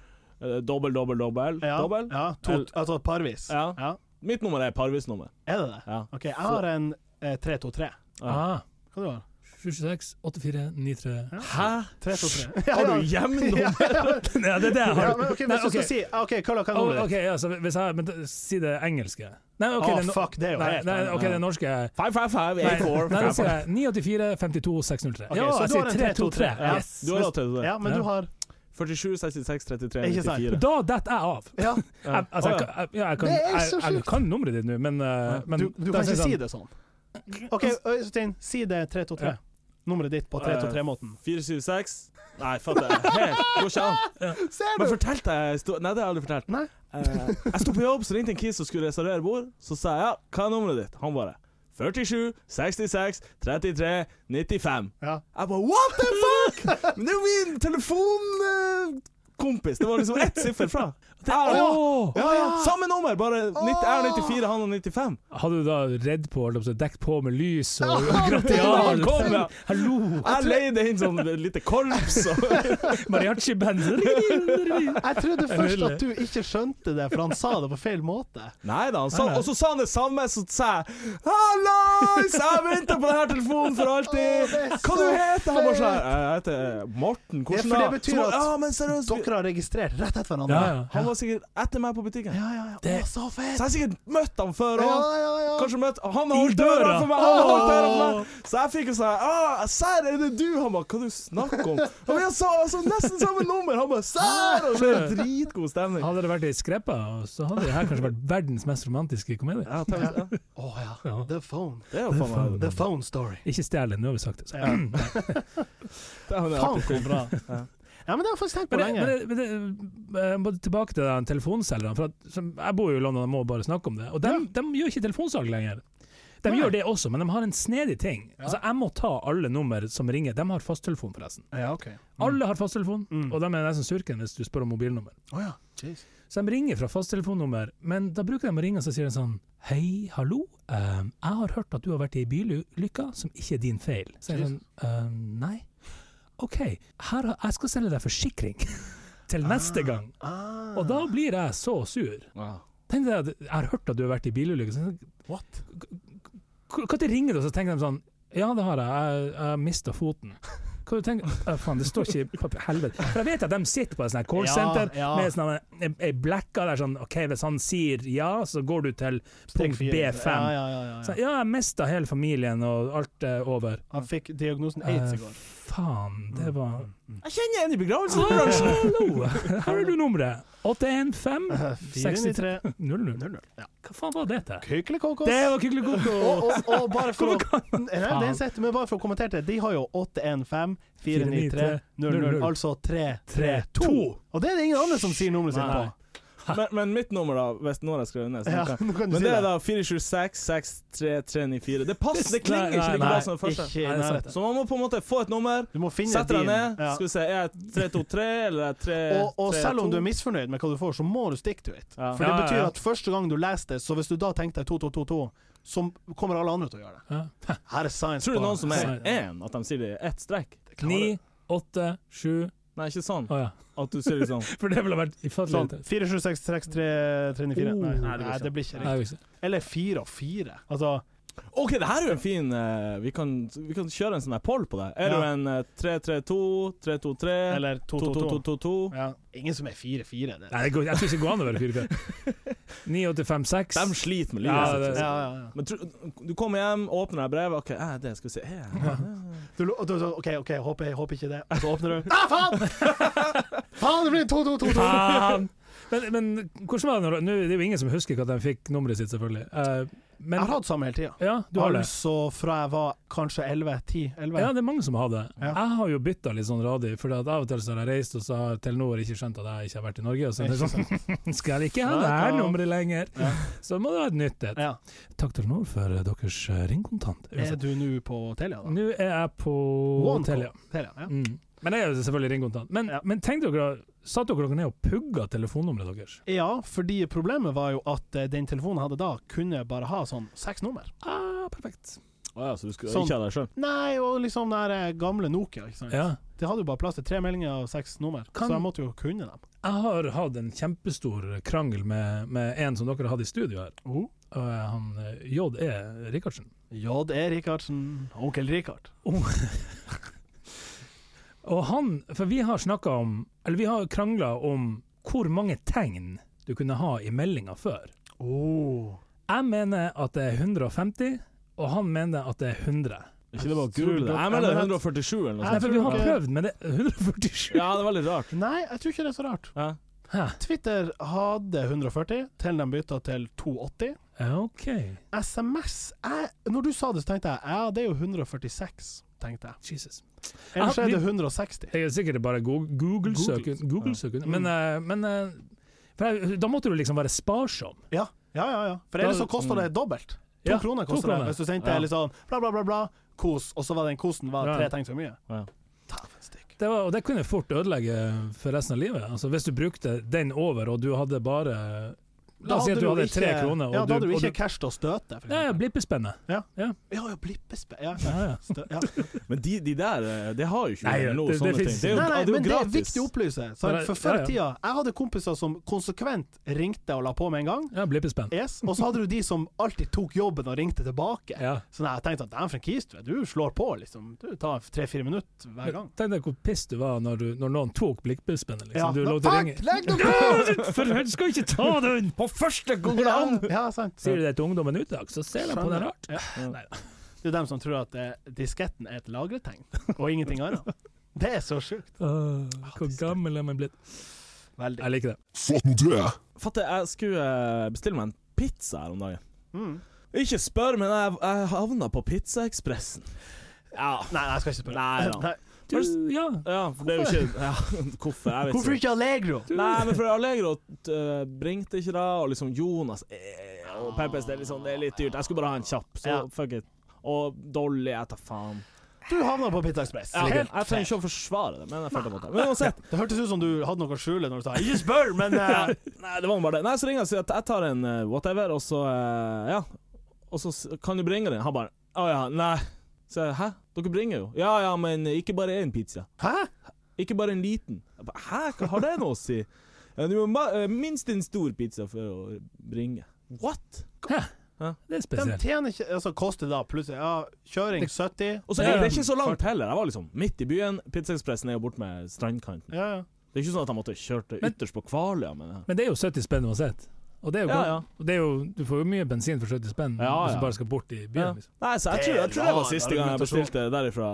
Speaker 3: eh, dobbel, dobbel, dobbel.
Speaker 1: Ja,
Speaker 3: dobbel.
Speaker 1: ja to,
Speaker 3: Eller-
Speaker 1: altså parvis.
Speaker 3: Ja.
Speaker 1: Ja.
Speaker 3: Mitt nummer er parvisnummer.
Speaker 1: Er det det?
Speaker 3: Ja.
Speaker 1: OK, jeg har en eh, 323.
Speaker 3: Ja.
Speaker 2: Ah,
Speaker 1: Hva du har
Speaker 2: 726 84 93
Speaker 3: Hæ?
Speaker 1: 323.
Speaker 3: Har du hjemnummer?
Speaker 1: Ja,
Speaker 2: Ja, det er det jeg
Speaker 1: ja,
Speaker 2: har.
Speaker 1: men ok,
Speaker 2: Nei,
Speaker 1: Hvis du
Speaker 2: ok.
Speaker 1: skal si OK, hva er
Speaker 2: Oh,
Speaker 1: nummeret
Speaker 2: ok,
Speaker 1: ditt?
Speaker 2: ja, så hvis jeg, men da- Si det engelske. Nei, ok,
Speaker 1: Å,
Speaker 2: det, no-
Speaker 1: fuck, det er jo
Speaker 2: nei,
Speaker 1: helt
Speaker 2: nei,
Speaker 1: annet.
Speaker 2: ok, det norske er
Speaker 3: Five, five, five,
Speaker 2: Nei,
Speaker 3: eight, four,
Speaker 2: nei, da
Speaker 3: five,
Speaker 2: sier
Speaker 3: five.
Speaker 2: jeg 984 52 603.
Speaker 1: Ok,
Speaker 2: ja,
Speaker 1: så
Speaker 2: jeg
Speaker 1: du
Speaker 2: sier
Speaker 1: har en
Speaker 2: 323.
Speaker 1: 323. Ja.
Speaker 2: Yes.
Speaker 3: Du har lov til det.
Speaker 1: Ja, men
Speaker 2: Ja.
Speaker 1: du har
Speaker 3: 47, 66, 33,
Speaker 1: Ikke sant.
Speaker 3: 94.
Speaker 2: Da detter jeg av.
Speaker 1: Ja,
Speaker 2: Jeg, altså,
Speaker 3: Å,
Speaker 2: jeg,
Speaker 3: ja.
Speaker 2: kan- jeg, ja, jeg, kan,
Speaker 1: Det er
Speaker 2: jeg,
Speaker 1: så
Speaker 2: jeg
Speaker 1: sjukt.
Speaker 2: kan nummeret ditt nå, men, uh, men
Speaker 1: du, du kan ikke si det sånn. OK,
Speaker 2: Altså-
Speaker 1: Øystein, si det
Speaker 2: Ja.
Speaker 1: 323. Nummeret ditt på 323-måten.
Speaker 3: 476 Nei, fatter jeg. Helt. Går ikke an.
Speaker 1: Ser
Speaker 3: Men fortalte jeg sto- Nei, det har jeg aldri fortalt.
Speaker 1: Nei.
Speaker 3: Eh, jeg sto på jobb, så ringte en kis som skulle reservere bord. Så sa jeg ja, hva er nummeret ditt? Han bare 47, 66, 33, 95.
Speaker 1: Ja.
Speaker 3: Jeg bare what the fuck?! Men det er jo min telefonkompis! Det var liksom ett siffer fra.
Speaker 2: Åh!
Speaker 3: Ja,
Speaker 1: Ja, ja.
Speaker 3: Samme nummer, bare 90, jeg er 94, han er 95.
Speaker 2: Hadde du da redd på, holdt jeg på å si, dekt på med lys og
Speaker 1: Ja,
Speaker 2: gratial?
Speaker 3: det var- kom, ja.
Speaker 2: Hallo!
Speaker 3: Jeg leide inn sånn lite korps og
Speaker 2: Mariachi-band.
Speaker 1: Jeg trodde først
Speaker 2: Nydelig.
Speaker 1: at du ikke skjønte det, for han sa det på feil måte.
Speaker 3: Nei da, han sa,
Speaker 2: Nei, nei.
Speaker 3: og så sa han det samme, så sa jeg Hallois! Jeg venter på denne telefonen for
Speaker 1: Å,
Speaker 3: alltid!
Speaker 1: det er
Speaker 3: Hva
Speaker 1: så
Speaker 3: du heter du?
Speaker 1: fett.
Speaker 3: sånn, Jeg heter
Speaker 1: Ja,
Speaker 3: Morten. Hvordan
Speaker 1: for
Speaker 3: da?
Speaker 1: det betyr
Speaker 3: Så må-
Speaker 1: at
Speaker 3: Ja, men seriøst. vi-
Speaker 1: Dere har registrert rett etter hverandre.
Speaker 2: Ja, ja.
Speaker 3: Han var sikkert etter meg på butikken.
Speaker 1: ja, ja, ja. Å,
Speaker 2: Det-
Speaker 1: så
Speaker 3: Så
Speaker 1: fett!
Speaker 3: jeg har sikkert møtt han før
Speaker 1: Ja,
Speaker 3: òg.
Speaker 1: ja, ja.
Speaker 3: Kanskje møtt Han har
Speaker 2: I
Speaker 3: holdt døra
Speaker 2: døra.
Speaker 3: for meg! Han har holdt døra for meg. Så jeg fikk jo sånn «Ah, Serr, er det du? Han bare Hva du snakker om? Og jeg sa altså nesten samme nummer! Han bare Serr! Og så er det dritgod stemning.
Speaker 2: Hadde det vært ei skreppe, så hadde det her kanskje vært verdens mest romantiske komedie.
Speaker 3: Ja, tenk, ja.
Speaker 1: Å ja.
Speaker 2: Ja.
Speaker 1: The phone.
Speaker 3: Det er jo faen meg
Speaker 1: The phone story.
Speaker 2: Ikke stjel den, nå har vi sagt det. Så.
Speaker 1: Ja.
Speaker 3: Det er jo en
Speaker 1: Faen,
Speaker 3: artig film.
Speaker 1: bra.
Speaker 3: Ja.
Speaker 1: Ja, men det har jeg faktisk tenkt på
Speaker 2: Men, det,
Speaker 1: lenge.
Speaker 2: men, det, men det, eh, jeg må tilbake til den telefonselgeren. For at, som, jeg bor jo i London, jeg må bare snakke om det. Og de, gjør ikke telefonsalg lenger. De
Speaker 1: Nei.
Speaker 2: gjør det også, men de har en snedig ting. Altså, jeg må ta alle nummer som ringer. De har fasttelefon, forresten.
Speaker 1: Ja, ok.
Speaker 2: Alle har fasttelefon,
Speaker 1: Mm.
Speaker 2: og de er nesten surken hvis du spør om mobilnummer.
Speaker 1: Å ja. Jeez.
Speaker 2: Så de ringer fra fasttelefonnummer, men da bruker de å ringe og så sier de sånn Hei, hallo. ehm, jeg har hørt at du har vært i ei bilulykke som ikke er din feil. Så jeg sånn «Ehm, Nei. OK, her har, jeg skal selge deg forsikring. Til neste gang.
Speaker 1: Ah.
Speaker 2: Og da blir jeg så sur.
Speaker 3: Ja.
Speaker 2: Tenk deg at jeg har hørt at du har vært i bilulykke. så jeg sånn,
Speaker 1: What?
Speaker 2: «Hvor- Når de ringer du, så tenker de sånn Ja, det har jeg. Jeg, jeg mista foten. Hva du tenker «Å, Faen, det står ikke i papir- Helvete. For jeg vet at de sitter på et sånt her callsenter
Speaker 1: Ja, ja.
Speaker 2: med sånn en- en- en blekka der sånn OK, hvis han sier ja, så går du til
Speaker 1: Steg
Speaker 2: punkt
Speaker 1: fire.
Speaker 2: B5.
Speaker 1: Ja, ja, ja, ja,
Speaker 2: sånn,
Speaker 1: ja.
Speaker 2: Ja, jeg mista hele familien, og alt er over.
Speaker 1: Han fikk diagnosen aids
Speaker 2: Eh,
Speaker 1: i går.
Speaker 2: Faen, det var
Speaker 1: Mm.
Speaker 3: Jeg kjenner en i begravelsesbransjen!
Speaker 2: Hallo! Her er du nummeret. 815
Speaker 1: 493
Speaker 2: 00.
Speaker 1: 00. Ja.
Speaker 2: Hva faen var det til?
Speaker 1: Kykelikokos.
Speaker 2: Det var kykelikoko!
Speaker 1: og, og, og bare for å
Speaker 2: Hvorfor kan man
Speaker 1: Nei, det er sett, men bare for å kommentere det, de har jo 815-493-00,
Speaker 2: 493-00.
Speaker 1: altså 332. Og det er det ingen andre som sier nummeret sitt
Speaker 3: Nei.
Speaker 1: på.
Speaker 3: Men, men mitt nummer, da, hvis noen har skrevet ned så
Speaker 1: Ja,
Speaker 3: kan-
Speaker 1: nå kan du
Speaker 3: Men
Speaker 1: si
Speaker 3: det er
Speaker 1: det.
Speaker 3: da 426-6334. Det passer, det klinger
Speaker 2: Nei,
Speaker 3: ikke
Speaker 2: nei,
Speaker 3: like bra
Speaker 2: nei.
Speaker 3: som det første.
Speaker 1: Ikke
Speaker 2: Nei,
Speaker 1: i
Speaker 2: det er sant,
Speaker 1: nærheten.
Speaker 3: Så man må på en måte få et nummer,
Speaker 1: Du må finne
Speaker 3: sette deg
Speaker 1: din.
Speaker 3: ned.
Speaker 1: Ja.
Speaker 3: Skal vi se, er jeg 323 eller er jeg 3
Speaker 1: Og, og selv om du er misfornøyd med hva du får, så må du stick to it.
Speaker 3: Ja.
Speaker 1: For det
Speaker 2: Ja, ja,
Speaker 1: betyr
Speaker 2: ja.
Speaker 1: at første gang du leser det, så hvis du da tenkte 2222, så kommer alle andre til å gjøre det.
Speaker 2: Ja.
Speaker 1: Her er science.
Speaker 3: Tror du
Speaker 1: på-
Speaker 3: noen som er
Speaker 2: Nei, nei.
Speaker 3: én, at de sier det i ett strekk?
Speaker 1: Det klarer
Speaker 2: Ni, åtte, sju
Speaker 3: Nei, ikke sånn.
Speaker 2: Å ja.
Speaker 3: At du sier liksom
Speaker 2: For det ville vært ufattelig
Speaker 1: Sånn.
Speaker 2: irriterende.
Speaker 1: 476334.
Speaker 2: Oh.
Speaker 1: Nei,
Speaker 3: Oh.
Speaker 1: nei,
Speaker 3: Nei, det blir ikke.
Speaker 1: det blir ikke
Speaker 2: Nei,
Speaker 1: riktig.
Speaker 2: jeg visste.
Speaker 1: Eller 4 og 4. Altså
Speaker 3: OK, det her er jo en fin eh, vi, kan, vi kan kjøre en sånn her poll på det. Er
Speaker 1: Ja.
Speaker 3: du en eh, 3-3-2, 3-2-3,
Speaker 1: Eller 222.
Speaker 3: 2-2-2-2?
Speaker 1: Ja. Ingen som er 4-4. det-
Speaker 2: Nei, det går, jeg tror ikke det går an å være 4-4. 9-8-5-6.
Speaker 3: De sliter med
Speaker 2: Ja,
Speaker 3: livet
Speaker 2: det-
Speaker 3: sitt.
Speaker 1: Ja, ja,
Speaker 3: liksom.
Speaker 1: ja.
Speaker 3: Men tro- du kommer hjem, åpner deg brevet OK, eh, det skal vi se eh,
Speaker 1: Du, lo- du, du, OK, ok, jeg håper, jeg håper ikke det. Og så åpner du Ah, faen! faen, det blir 2-2-2-2!
Speaker 2: Faen! Men, men hvordan var det når Nå det er jo ingen som husker hva de fikk nummeret sitt, selvfølgelig. Eh,
Speaker 1: Jeg har
Speaker 2: men
Speaker 1: hatt samme hele tida.
Speaker 2: ja, du har det.
Speaker 1: Altså fra jeg var kanskje 11-10-11.
Speaker 2: Ja, det er mange som har det.
Speaker 1: Ja.
Speaker 2: Jeg har jo bytta litt sånn radig, for at av og til så har jeg reist, og så har Telenor ikke skjønt at jeg ikke har vært i Norge. Og så er det sånn Skal ikke ha det her nummeret lenger!
Speaker 1: Ja.
Speaker 2: Så må det være et nytt et.
Speaker 1: Ja.
Speaker 2: Takk Telenor for eh, deres eh, ringkontant.
Speaker 1: Er du nå på Telia, da?
Speaker 2: Nå er jeg på
Speaker 1: One
Speaker 2: Telia.
Speaker 1: call. Telia ja.
Speaker 2: Mm. Men det er jo selvfølgelig ringkontant. Men,
Speaker 1: Ja.
Speaker 2: men tenk dere, satt dere dere ned og pugga telefonnummeret deres?
Speaker 1: ja, fordi problemet var jo at eh, den telefonen jeg hadde da, kunne bare ha sånn seks nummer.
Speaker 2: Ah, perfekt.
Speaker 3: Å ja, så du skulle
Speaker 1: Sånn.
Speaker 3: ikke ha deg sjøl?
Speaker 1: Nei, og liksom den der, eh, gamle Nokia. Ikke sant?
Speaker 2: Ja.
Speaker 1: Det hadde jo bare plass til tre meldinger og seks nummer,
Speaker 2: Kan-
Speaker 1: så jeg måtte jo kunne dem.
Speaker 2: Jeg har hatt en kjempestor krangel med, med en som dere hadde i studio her.
Speaker 1: Oh.
Speaker 2: Og han eh, J.E. Rikardsen.
Speaker 1: J.E. Rikardsen, onkel Rikard.
Speaker 2: Og han, for vi har snakka om, eller vi har krangla om hvor mange tegn du kunne ha i meldinga før.
Speaker 1: Oh.
Speaker 2: Jeg mener at det er 150, og han mener at det er 100.
Speaker 3: Ikke det bare å
Speaker 1: Jeg tror
Speaker 3: google det?
Speaker 1: det-
Speaker 3: Jeg mener
Speaker 1: jeg mener
Speaker 3: 147 eller noe
Speaker 1: Jeg
Speaker 2: Nei,
Speaker 3: sånt.
Speaker 2: for
Speaker 1: tror
Speaker 2: vi har
Speaker 1: dere-
Speaker 2: prøvd, men det er 147.
Speaker 3: Ja, det er veldig rart.
Speaker 1: Nei, jeg tror ikke det er så rart.
Speaker 3: Ja.
Speaker 2: Hæ?
Speaker 1: Twitter hadde 140, til de bytta til 280.
Speaker 2: Ja, OK.
Speaker 1: SMS jeg, Når du sa det, så tenkte jeg ja, det er jo 146, tenkte jeg.
Speaker 2: Jesus.
Speaker 1: Ellers
Speaker 2: Ja,
Speaker 1: er
Speaker 2: vi-
Speaker 1: det 160.
Speaker 2: Det er sikkert bare go- Google-søk.
Speaker 3: Googles.
Speaker 2: Google-søk.
Speaker 1: Mm.
Speaker 2: Men, eh, men eh, for jeg, da måtte du liksom være sparsom.
Speaker 1: Ja, ja, ja. ja. For ellers
Speaker 2: Da- Mm.
Speaker 1: så koster det dobbelt. To
Speaker 2: Ja,
Speaker 1: kroner
Speaker 2: to
Speaker 1: koster det
Speaker 2: kroner.
Speaker 1: hvis du sendte
Speaker 3: Ja.
Speaker 1: litt sånn bla, bla, bla, bla, kos, og så var den kosen var
Speaker 2: Ja.
Speaker 1: tre tegn for mye.
Speaker 3: Ja.
Speaker 1: Ta for en stikk.
Speaker 2: Det var, og det kunne fort ødelegge for resten av livet. Altså, hvis du brukte den over, og du hadde bare La oss si at du
Speaker 1: jo
Speaker 2: hadde
Speaker 1: ikke-
Speaker 2: tre kroner, og
Speaker 1: Ja, da hadde
Speaker 2: du,
Speaker 1: du
Speaker 2: og
Speaker 1: ikke
Speaker 2: du
Speaker 1: cash til å støte. for
Speaker 2: ja, ja,
Speaker 1: eksempel.
Speaker 2: Blippespenne.
Speaker 1: Ja, ja, blippespe... Ja,
Speaker 2: Ja, ja.
Speaker 1: stø, ja.
Speaker 3: Men de, de der, eh, det har jo ikke
Speaker 2: Nei, det-
Speaker 3: noe
Speaker 2: det
Speaker 3: sånne ting.
Speaker 2: finnes-
Speaker 3: Det er jo,
Speaker 1: nei, nei,
Speaker 3: det er jo
Speaker 1: men det er
Speaker 3: gratis.
Speaker 1: viktig å opplyse.
Speaker 2: Ja,
Speaker 1: Sant?
Speaker 2: det-
Speaker 1: For
Speaker 2: ja,
Speaker 1: før i
Speaker 2: ja.
Speaker 1: tida Jeg hadde kompiser som konsekvent ringte og la på med en gang.
Speaker 2: Ja, blippespenn.
Speaker 1: Yes. Og så hadde du de som alltid tok jobben og ringte tilbake.
Speaker 2: Ja.
Speaker 1: Så nei, jeg tenkte at dæven, for en kis du er. Du slår på, liksom. Du tar tre-fire minutter hver gang.
Speaker 2: Tenk deg hvor piss du var når, du, når noen tok blippespennen. Liksom.
Speaker 1: Ja.
Speaker 2: Du lå
Speaker 1: Nå,
Speaker 2: til å
Speaker 1: fuck,
Speaker 2: ringe.
Speaker 1: legg deg
Speaker 2: Ja,
Speaker 1: på!
Speaker 2: du- For helvete, skal ikke ta den!
Speaker 3: På første
Speaker 1: Ja, ja, sant.
Speaker 2: Sier du det til ungdommen i dag, så ser de på den rart.
Speaker 1: Ja. Det er dem som tror at eh, disketten er et lagretegn, og ingenting annet. Det er så sjukt.
Speaker 2: Åh, hvor gammel er man blitt?
Speaker 1: Veldig.
Speaker 2: Jeg liker det.
Speaker 3: Fatter, jeg skulle eh, bestille meg en pizza her om dagen.
Speaker 1: Mm.
Speaker 3: Ikke spør, men jeg, jeg havna på Pizzaekspressen. Ja.
Speaker 1: Nei, jeg skal ikke spørre.
Speaker 3: Nei, da.
Speaker 2: Du, ja.
Speaker 3: ja, for det er jo ikke ja, Hvorfor? Jeg vet
Speaker 1: Hvorfor ikke Allegro?
Speaker 3: Nei, men for Allegro eh, bringte ikke det, og liksom Jonas eh, og Peppes, det er, liksom, det er litt dyrt. Jeg skulle bare ha en kjapp, så
Speaker 1: Ja.
Speaker 3: fuck it. Og Dolly, jeg tar faen.
Speaker 1: Du havna på Pizza Express.
Speaker 3: Ja, jeg
Speaker 1: Helt
Speaker 3: trenger ikke å forsvare det, men jeg følte på det. Men uansett,
Speaker 1: Det hørtes ut som du hadde noe å skjule når du sa 'ikke spør', men eh,
Speaker 3: Nei, det var bare det. Nei, så ringer jeg og sier at jeg tar en eh, whatever, og så eh, Ja. Og så s- kan du bringe den? Han bare Å ja, nei. Så jeg, hæ? Dere bringer jo. Ja ja, men ikke bare én pizza.
Speaker 1: Hæ?
Speaker 3: Ikke bare en liten. Jeg bare, hæ, hva har det noe å si? Ja, du må ma- eh, minst en stor pizza for å bringe. What?
Speaker 2: Det er
Speaker 1: De
Speaker 2: spesielt.
Speaker 1: tjener ikke Altså, koster da plutselig Ja, kjøring 70
Speaker 3: Og så er det ikke så langt heller. Jeg var liksom midt i byen. Pizzaekspressen er jo borte med strandkanten.
Speaker 1: Ja, ja.
Speaker 3: Det er ikke sånn at jeg måtte kjøre til ytterst på Kvaløya med det her.
Speaker 2: Men det er jo 70 spenn uansett. Og det er jo,
Speaker 3: Ja,
Speaker 2: godt.
Speaker 3: ja.
Speaker 2: Og det er jo, du får jo mye bensin for 70 spenn
Speaker 3: Ja,
Speaker 2: hvis
Speaker 3: ja.
Speaker 2: du bare skal bort i
Speaker 3: Ja.
Speaker 2: byen. Liksom.
Speaker 3: Nei, så jeg tror, jeg tror det var siste gang jeg bestilte derifra.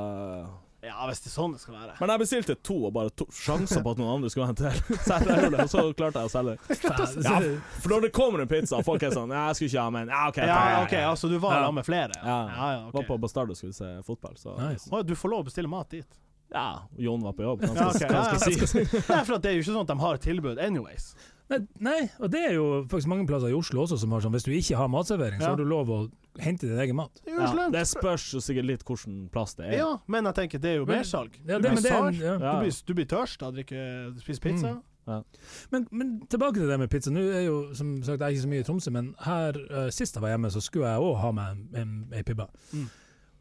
Speaker 1: ja, hvis det er sånn det skal være.
Speaker 3: Men jeg bestilte to, og bare to sjanser på at noen andre skulle hente til. Så jeg gjorde det, og så klarte jeg å selge.
Speaker 2: Faen,
Speaker 3: Ja.
Speaker 2: så-
Speaker 3: For når det kommer en pizza, og folk er sånn Ja, jeg skulle ikke ha, men ja, OK.
Speaker 1: Ja, ja, OK, altså du var
Speaker 3: Ja.
Speaker 1: sammen med flere? Ja,
Speaker 3: Ja.
Speaker 1: ja, ja
Speaker 3: Var på
Speaker 1: ok.
Speaker 3: Bastard og skulle se fotball, så
Speaker 2: Nice.
Speaker 1: Å, du får lov å bestille mat dit.
Speaker 3: Ja, Jon var på jobb. Hva
Speaker 1: Ja,
Speaker 3: skal,
Speaker 1: ok,
Speaker 3: hva skal
Speaker 1: ja,
Speaker 3: jeg si?
Speaker 1: Nei, for at det er jo ikke sånn at de har tilbud anyways.
Speaker 2: Nei, nei, og det er jo faktisk mange plasser i Oslo også som har sånn hvis du ikke har matservering, så
Speaker 1: Ja.
Speaker 2: har du lov å hente din egen mat.
Speaker 1: Det er jo
Speaker 3: Ja,
Speaker 1: slemt.
Speaker 3: det spørs jo sikkert litt hvilken plass det er.
Speaker 1: Ja, men jeg tenker det er jo
Speaker 2: Men-
Speaker 1: mersalg.
Speaker 2: Ja,
Speaker 1: du,
Speaker 2: det,
Speaker 1: blir
Speaker 2: men, det er,
Speaker 1: sart,
Speaker 2: ja.
Speaker 1: du,
Speaker 3: Ja.
Speaker 1: blir- du blir tørst av å drikke- spise pizza.
Speaker 2: Mm. Men, men tilbake til det med pizza. Nå er jo som sagt jeg er ikke så mye i Tromsø, men her eh, sist jeg var hjemme, så skulle jeg òg ha meg en, en, ei pibba.
Speaker 1: Mm.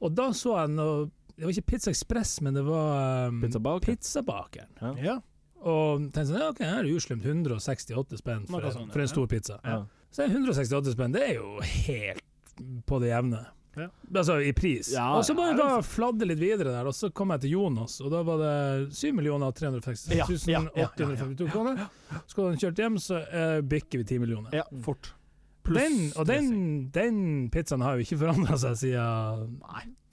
Speaker 2: Og da så jeg noe Det var ikke Pizza Ekspress, men det var um,
Speaker 3: Pizzabaker.
Speaker 2: Pizzabakeren.
Speaker 1: Ja.
Speaker 2: Og tenkte sånn, ja, ok, her er det uslemt 168 spenn
Speaker 1: Noe
Speaker 2: for, en-
Speaker 1: sånt,
Speaker 2: for
Speaker 1: ja.
Speaker 2: en stor pizza.
Speaker 3: Ja.
Speaker 2: Så 168 spenn, det er jo helt på det jevne.
Speaker 1: Ja.
Speaker 2: Altså i pris.
Speaker 3: Ja,
Speaker 2: og så må
Speaker 3: ja,
Speaker 2: jeg bare fladde litt videre der, og så kom jeg til Jonas, og da var det 7 356
Speaker 1: Ja, ja, ja, ja,
Speaker 2: 852 kroner. Så hadde han kjørt hjem, så eh, bikker vi 10 millioner.
Speaker 1: Ja, fort.
Speaker 2: Den, og den,
Speaker 1: dressing.
Speaker 2: den pizzaen har jo ikke forandra seg siden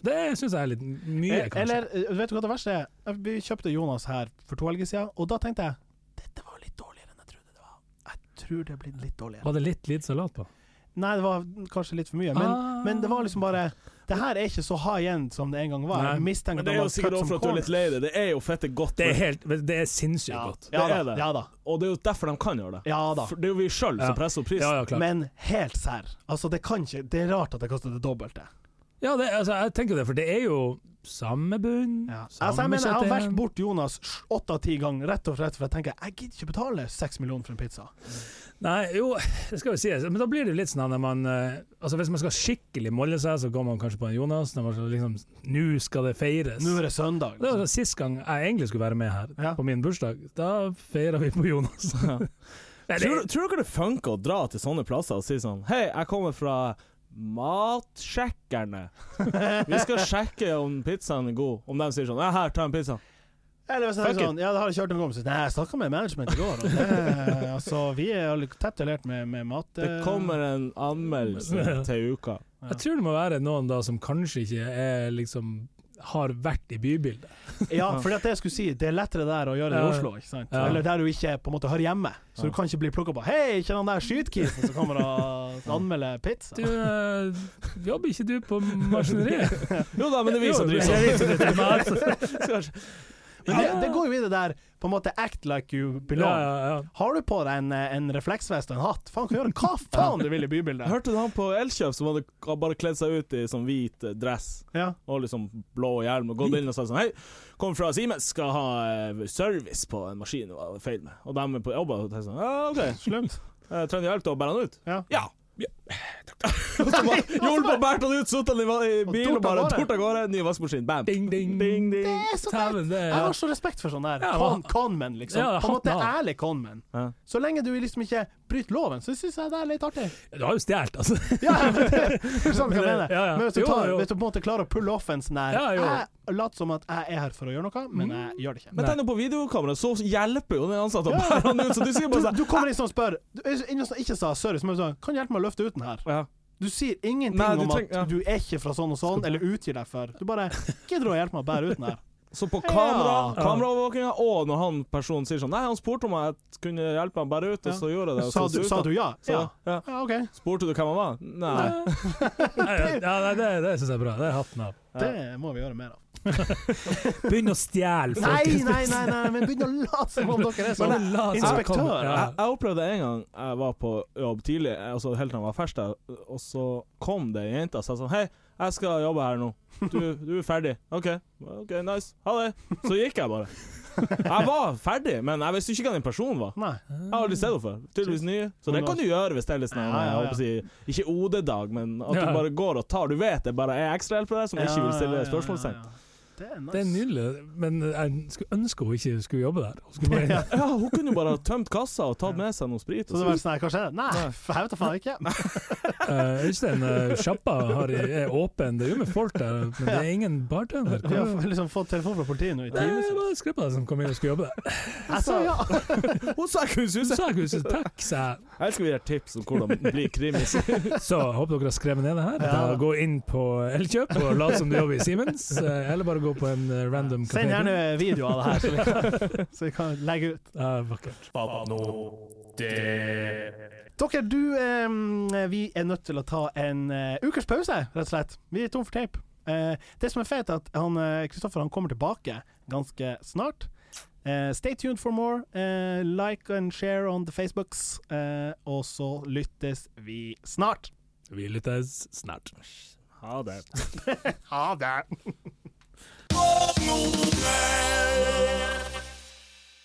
Speaker 2: Det syns jeg er litt mye,
Speaker 1: Eh,
Speaker 2: kanskje.
Speaker 1: Eller, eh, vet du hva det verste er? Eh, Vi kjøpte Jonas her for to helger siden, og da tenkte jeg dette var litt dårligere enn jeg trodde det var. Jeg tror det blir litt dårligere.
Speaker 2: var det litt lite salat på?
Speaker 1: Nei, det var kanskje litt for mye, men,
Speaker 2: Ah.
Speaker 1: men det var liksom bare Det her er ikke så high end som det en gang var.
Speaker 2: Nei.
Speaker 1: Jeg mistenker
Speaker 3: Men det er
Speaker 1: at
Speaker 3: jo
Speaker 1: de har
Speaker 3: sikkert
Speaker 1: cut
Speaker 3: også
Speaker 1: som
Speaker 3: for at du er litt lei deg. Det er jo fette godt,
Speaker 2: Det er, helt, det er sinnssykt
Speaker 1: Ja,
Speaker 2: godt.
Speaker 1: ja,
Speaker 3: Det
Speaker 1: da,
Speaker 3: er det.
Speaker 1: ja da.
Speaker 3: og det er jo derfor de kan gjøre det.
Speaker 1: Ja da.
Speaker 3: For det er jo vi sjøl
Speaker 2: Ja.
Speaker 3: som presser opp prisen.
Speaker 2: Ja, ja, klart.
Speaker 1: Men helt sær. Altså, det kan ikke Det er rart at det koster det dobbelte.
Speaker 3: Mm.
Speaker 2: Ja, det, altså, jeg tenker det, for det er jo samme bunn,
Speaker 1: Altså, jeg mener, jeg har
Speaker 2: kjøttdeig.
Speaker 1: valgt bort Jonas sj- åtte av ti ganger, rett og slett, for jeg tenker jeg gidder ikke betale seks millioner for en pizza.
Speaker 2: Nei, jo, det skal jo sies, men da blir det jo litt sånn at når man eh, Altså Hvis man skal skikkelig molle seg, så går man kanskje på en Jonas. Når man skal liksom Nå skal det feires.
Speaker 1: Nå er det søndag. liksom.
Speaker 2: Det var sånn Sist gang jeg egentlig skulle være med her,
Speaker 1: Ja.
Speaker 2: på min bursdag, da feira vi på Jonas.
Speaker 3: Ja.
Speaker 2: Nei, det,
Speaker 3: Tror, tror dere det funker å dra til sånne plasser og si sånn Hei, jeg kommer fra Matsjekkerne. Vi skal sjekke om pizzaen er god. Om de sier sånn Ja, her, ta en pizza.
Speaker 1: Eller hvis jeg
Speaker 3: Fuck
Speaker 1: tenker sånn Ja, det har jeg kjørt en kompis Nei, jeg snakka med management i går, og det, altså, vi er jo litt tett alert med, med mat.
Speaker 3: Det
Speaker 1: eh,
Speaker 3: kommer en anmeldelse til uka.
Speaker 2: jeg tror det må være noen da som kanskje ikke er liksom har vært i bybildet.
Speaker 1: Ja, fordi at det jeg skulle si, det er lettere der å gjøre det i
Speaker 2: Ja.
Speaker 1: Oslo, ikke sant?
Speaker 2: Ja.
Speaker 1: Eller der du ikke på en måte hører hjemme. Så
Speaker 3: Ja.
Speaker 1: du kan ikke bli plukka på 'Hei, ikke den der skytkisen som kommer og anmelder pizza'.
Speaker 2: Du eh, Jobber ikke du på maskineriet?
Speaker 3: Jo da, men det viser
Speaker 2: Jo,
Speaker 3: at du
Speaker 2: det er vi som
Speaker 3: sånn.
Speaker 2: driver med alt.
Speaker 1: altså. Men det, det går jo i det der på en måte 'act like you belong'.
Speaker 2: Ja, ja, ja.
Speaker 1: Har du på deg en, eh, en refleksvest og en hatt, faen kan du gjøre hva faen du vil i bybildet.
Speaker 3: Hørte du han på Elkjøp som hadde bare kledd seg ut i sånn hvit eh, dress
Speaker 1: Ja.
Speaker 3: og liksom blå hjelm og gått inn og sagt sånn Hei, kommer fra Siemens, skal ha eh, service på en maskin det var feil med. Og de på jobb og tenkte sånn Ja, OK,
Speaker 1: Slemt.
Speaker 3: eh, trenger du hjelp til å bære han ut?
Speaker 1: Ja.
Speaker 3: Ja. ja. Hjulpet og båret han ut, satt han i va- i
Speaker 1: Og
Speaker 3: bilen og
Speaker 1: bort av
Speaker 3: bare
Speaker 1: gårde.
Speaker 3: bort av gårde. Ny vaskemaskin. Bam.
Speaker 2: Ding, ding.
Speaker 3: Ding, ding.
Speaker 1: Det er så fett!
Speaker 2: Tæven, det er
Speaker 1: Jeg har så respekt for sånn der
Speaker 2: Ja,
Speaker 1: con,
Speaker 2: hva-
Speaker 1: conmen, liksom.
Speaker 2: Ja,
Speaker 1: på en måte
Speaker 2: hatten av.
Speaker 1: ærlig conmen.
Speaker 3: Ja.
Speaker 1: Så lenge du liksom ikke bryter loven, så syns jeg det er litt artig.
Speaker 2: Du har jo stjålet, altså.
Speaker 1: Ja, men det det er sånn jeg mener.
Speaker 2: Ja, ja.
Speaker 1: Men hvis du,
Speaker 2: Jo,
Speaker 1: tar,
Speaker 2: jo.
Speaker 1: hvis du på en måte klarer å pulle off en sånn der
Speaker 2: Ja, jo.
Speaker 1: Jeg later som at jeg er her for å gjøre noe, men jeg gjør det ikke.
Speaker 3: Men tenk nå på videokamera, så hjelper jo den ansatte å
Speaker 1: Ja.
Speaker 3: bære han ut, så du sier
Speaker 1: Du,
Speaker 3: bare sånn
Speaker 1: du kommer inn sånn og spør du, er ingen som ikke sa service, men sånn Kan du hjelpe meg å løfte ut den her?
Speaker 3: ja.
Speaker 1: Du sier ingenting
Speaker 3: Nei, du
Speaker 1: om
Speaker 3: trenger- ja.
Speaker 1: at du er ikke fra sånn og sånn, eller utgir deg for. Du bare Gidder du å hjelpe meg å bære ut den her?
Speaker 3: Så på
Speaker 2: Ja.
Speaker 3: kamera, kameraovervåkinga, og når han personen sier sånn Nei, han spurte om jeg kunne hjelpe ham bare ut, og
Speaker 1: Ja.
Speaker 3: så gjorde jeg det. og
Speaker 1: Sa
Speaker 3: så
Speaker 1: du,
Speaker 3: så
Speaker 1: sa
Speaker 3: ut
Speaker 1: du ja?
Speaker 3: da.
Speaker 1: Ja.
Speaker 3: Så, ja.
Speaker 1: ja OK.
Speaker 3: Spurte du hvem han var? Nei.
Speaker 2: Nei, ja, nei, det, det syns jeg er bra. Det er hatten av.
Speaker 3: Ja.
Speaker 1: Det må vi gjøre mer av.
Speaker 2: Begynn å stjele,
Speaker 1: Nei, nei, nei, nei, men begynn å late som om dere er sånn.
Speaker 2: Ja.
Speaker 1: Inspektør.
Speaker 3: Jeg, jeg opplevde en gang jeg var på jobb tidlig, altså helt til jeg var fersk der, og så kom det ei jente og sa sånn Hei, jeg skal jobbe her nå. Du, du er ferdig. OK, ok, nice. Ha det. Så gikk jeg bare. Jeg var ferdig, men jeg visste ikke hvem den personen var.
Speaker 1: Nei.
Speaker 3: Jeg har aldri sett henne før. Tydeligvis ny. Så det kan du gjøre hvis det er litt sånn
Speaker 1: Ja, ja, ja.
Speaker 3: jeg håper å si, Ikke OD-dag, men at
Speaker 2: Ja.
Speaker 3: du bare går og tar. Du vet det bare er ekstrahjelpere der som ikke vil stille spørsmålstegn.
Speaker 1: Ja, ja, ja. Det er nice.
Speaker 2: Det er nydelig, men jeg skulle ønske hun ikke skulle jobbe der. Hun skulle bare,
Speaker 3: Ja, hun kunne jo bare ha tømt kassa og tatt med seg noe sprit.
Speaker 1: Så det var sånn her, hva skjer? Nei,
Speaker 3: Nei.
Speaker 1: f- jeg vet da faen ikke.
Speaker 2: Eh, Øystein, eh, sjappa har- er åpen, det er jo med folk der, men det er ingen bartender.
Speaker 1: Vi
Speaker 2: Hva-
Speaker 1: har liksom fått telefon fra politiet nå i
Speaker 2: Nei, Det
Speaker 1: timevis.
Speaker 2: var skreppa som kom inn og skulle jobbe der.
Speaker 1: Jeg sa ja! sånn-
Speaker 3: Hun sa jeg kunne
Speaker 2: Så
Speaker 3: suse!
Speaker 2: sa jeg ikke, så takk, sa jeg.
Speaker 3: Jeg elsker å gi deg tips om hvordan bli krimis.
Speaker 2: Så jeg håper dere har skrevet ned det her.
Speaker 1: Ja.
Speaker 2: Da Gå inn på Elkjøp og lat som du jobber i Siemens, eh, eller bare gå på en eh, random kafé.
Speaker 1: Send gjerne video av det her, så vi kan, så vi kan legge ut.
Speaker 2: Ja, vakkert.
Speaker 1: Dere, du eh, Vi er nødt til å ta en eh, ukers pause, rett og slett. Vi er tom for teip. Eh, det som er fett, er at han, eh, Kristoffer han kommer tilbake ganske snart. Eh, stay tuned for more. Eh, like and share on the Facebooks. Eh, og så lyttes vi snart.
Speaker 2: Vi lyttes snart.
Speaker 3: Ha det.
Speaker 1: Ha det.
Speaker 4: Portmonnee.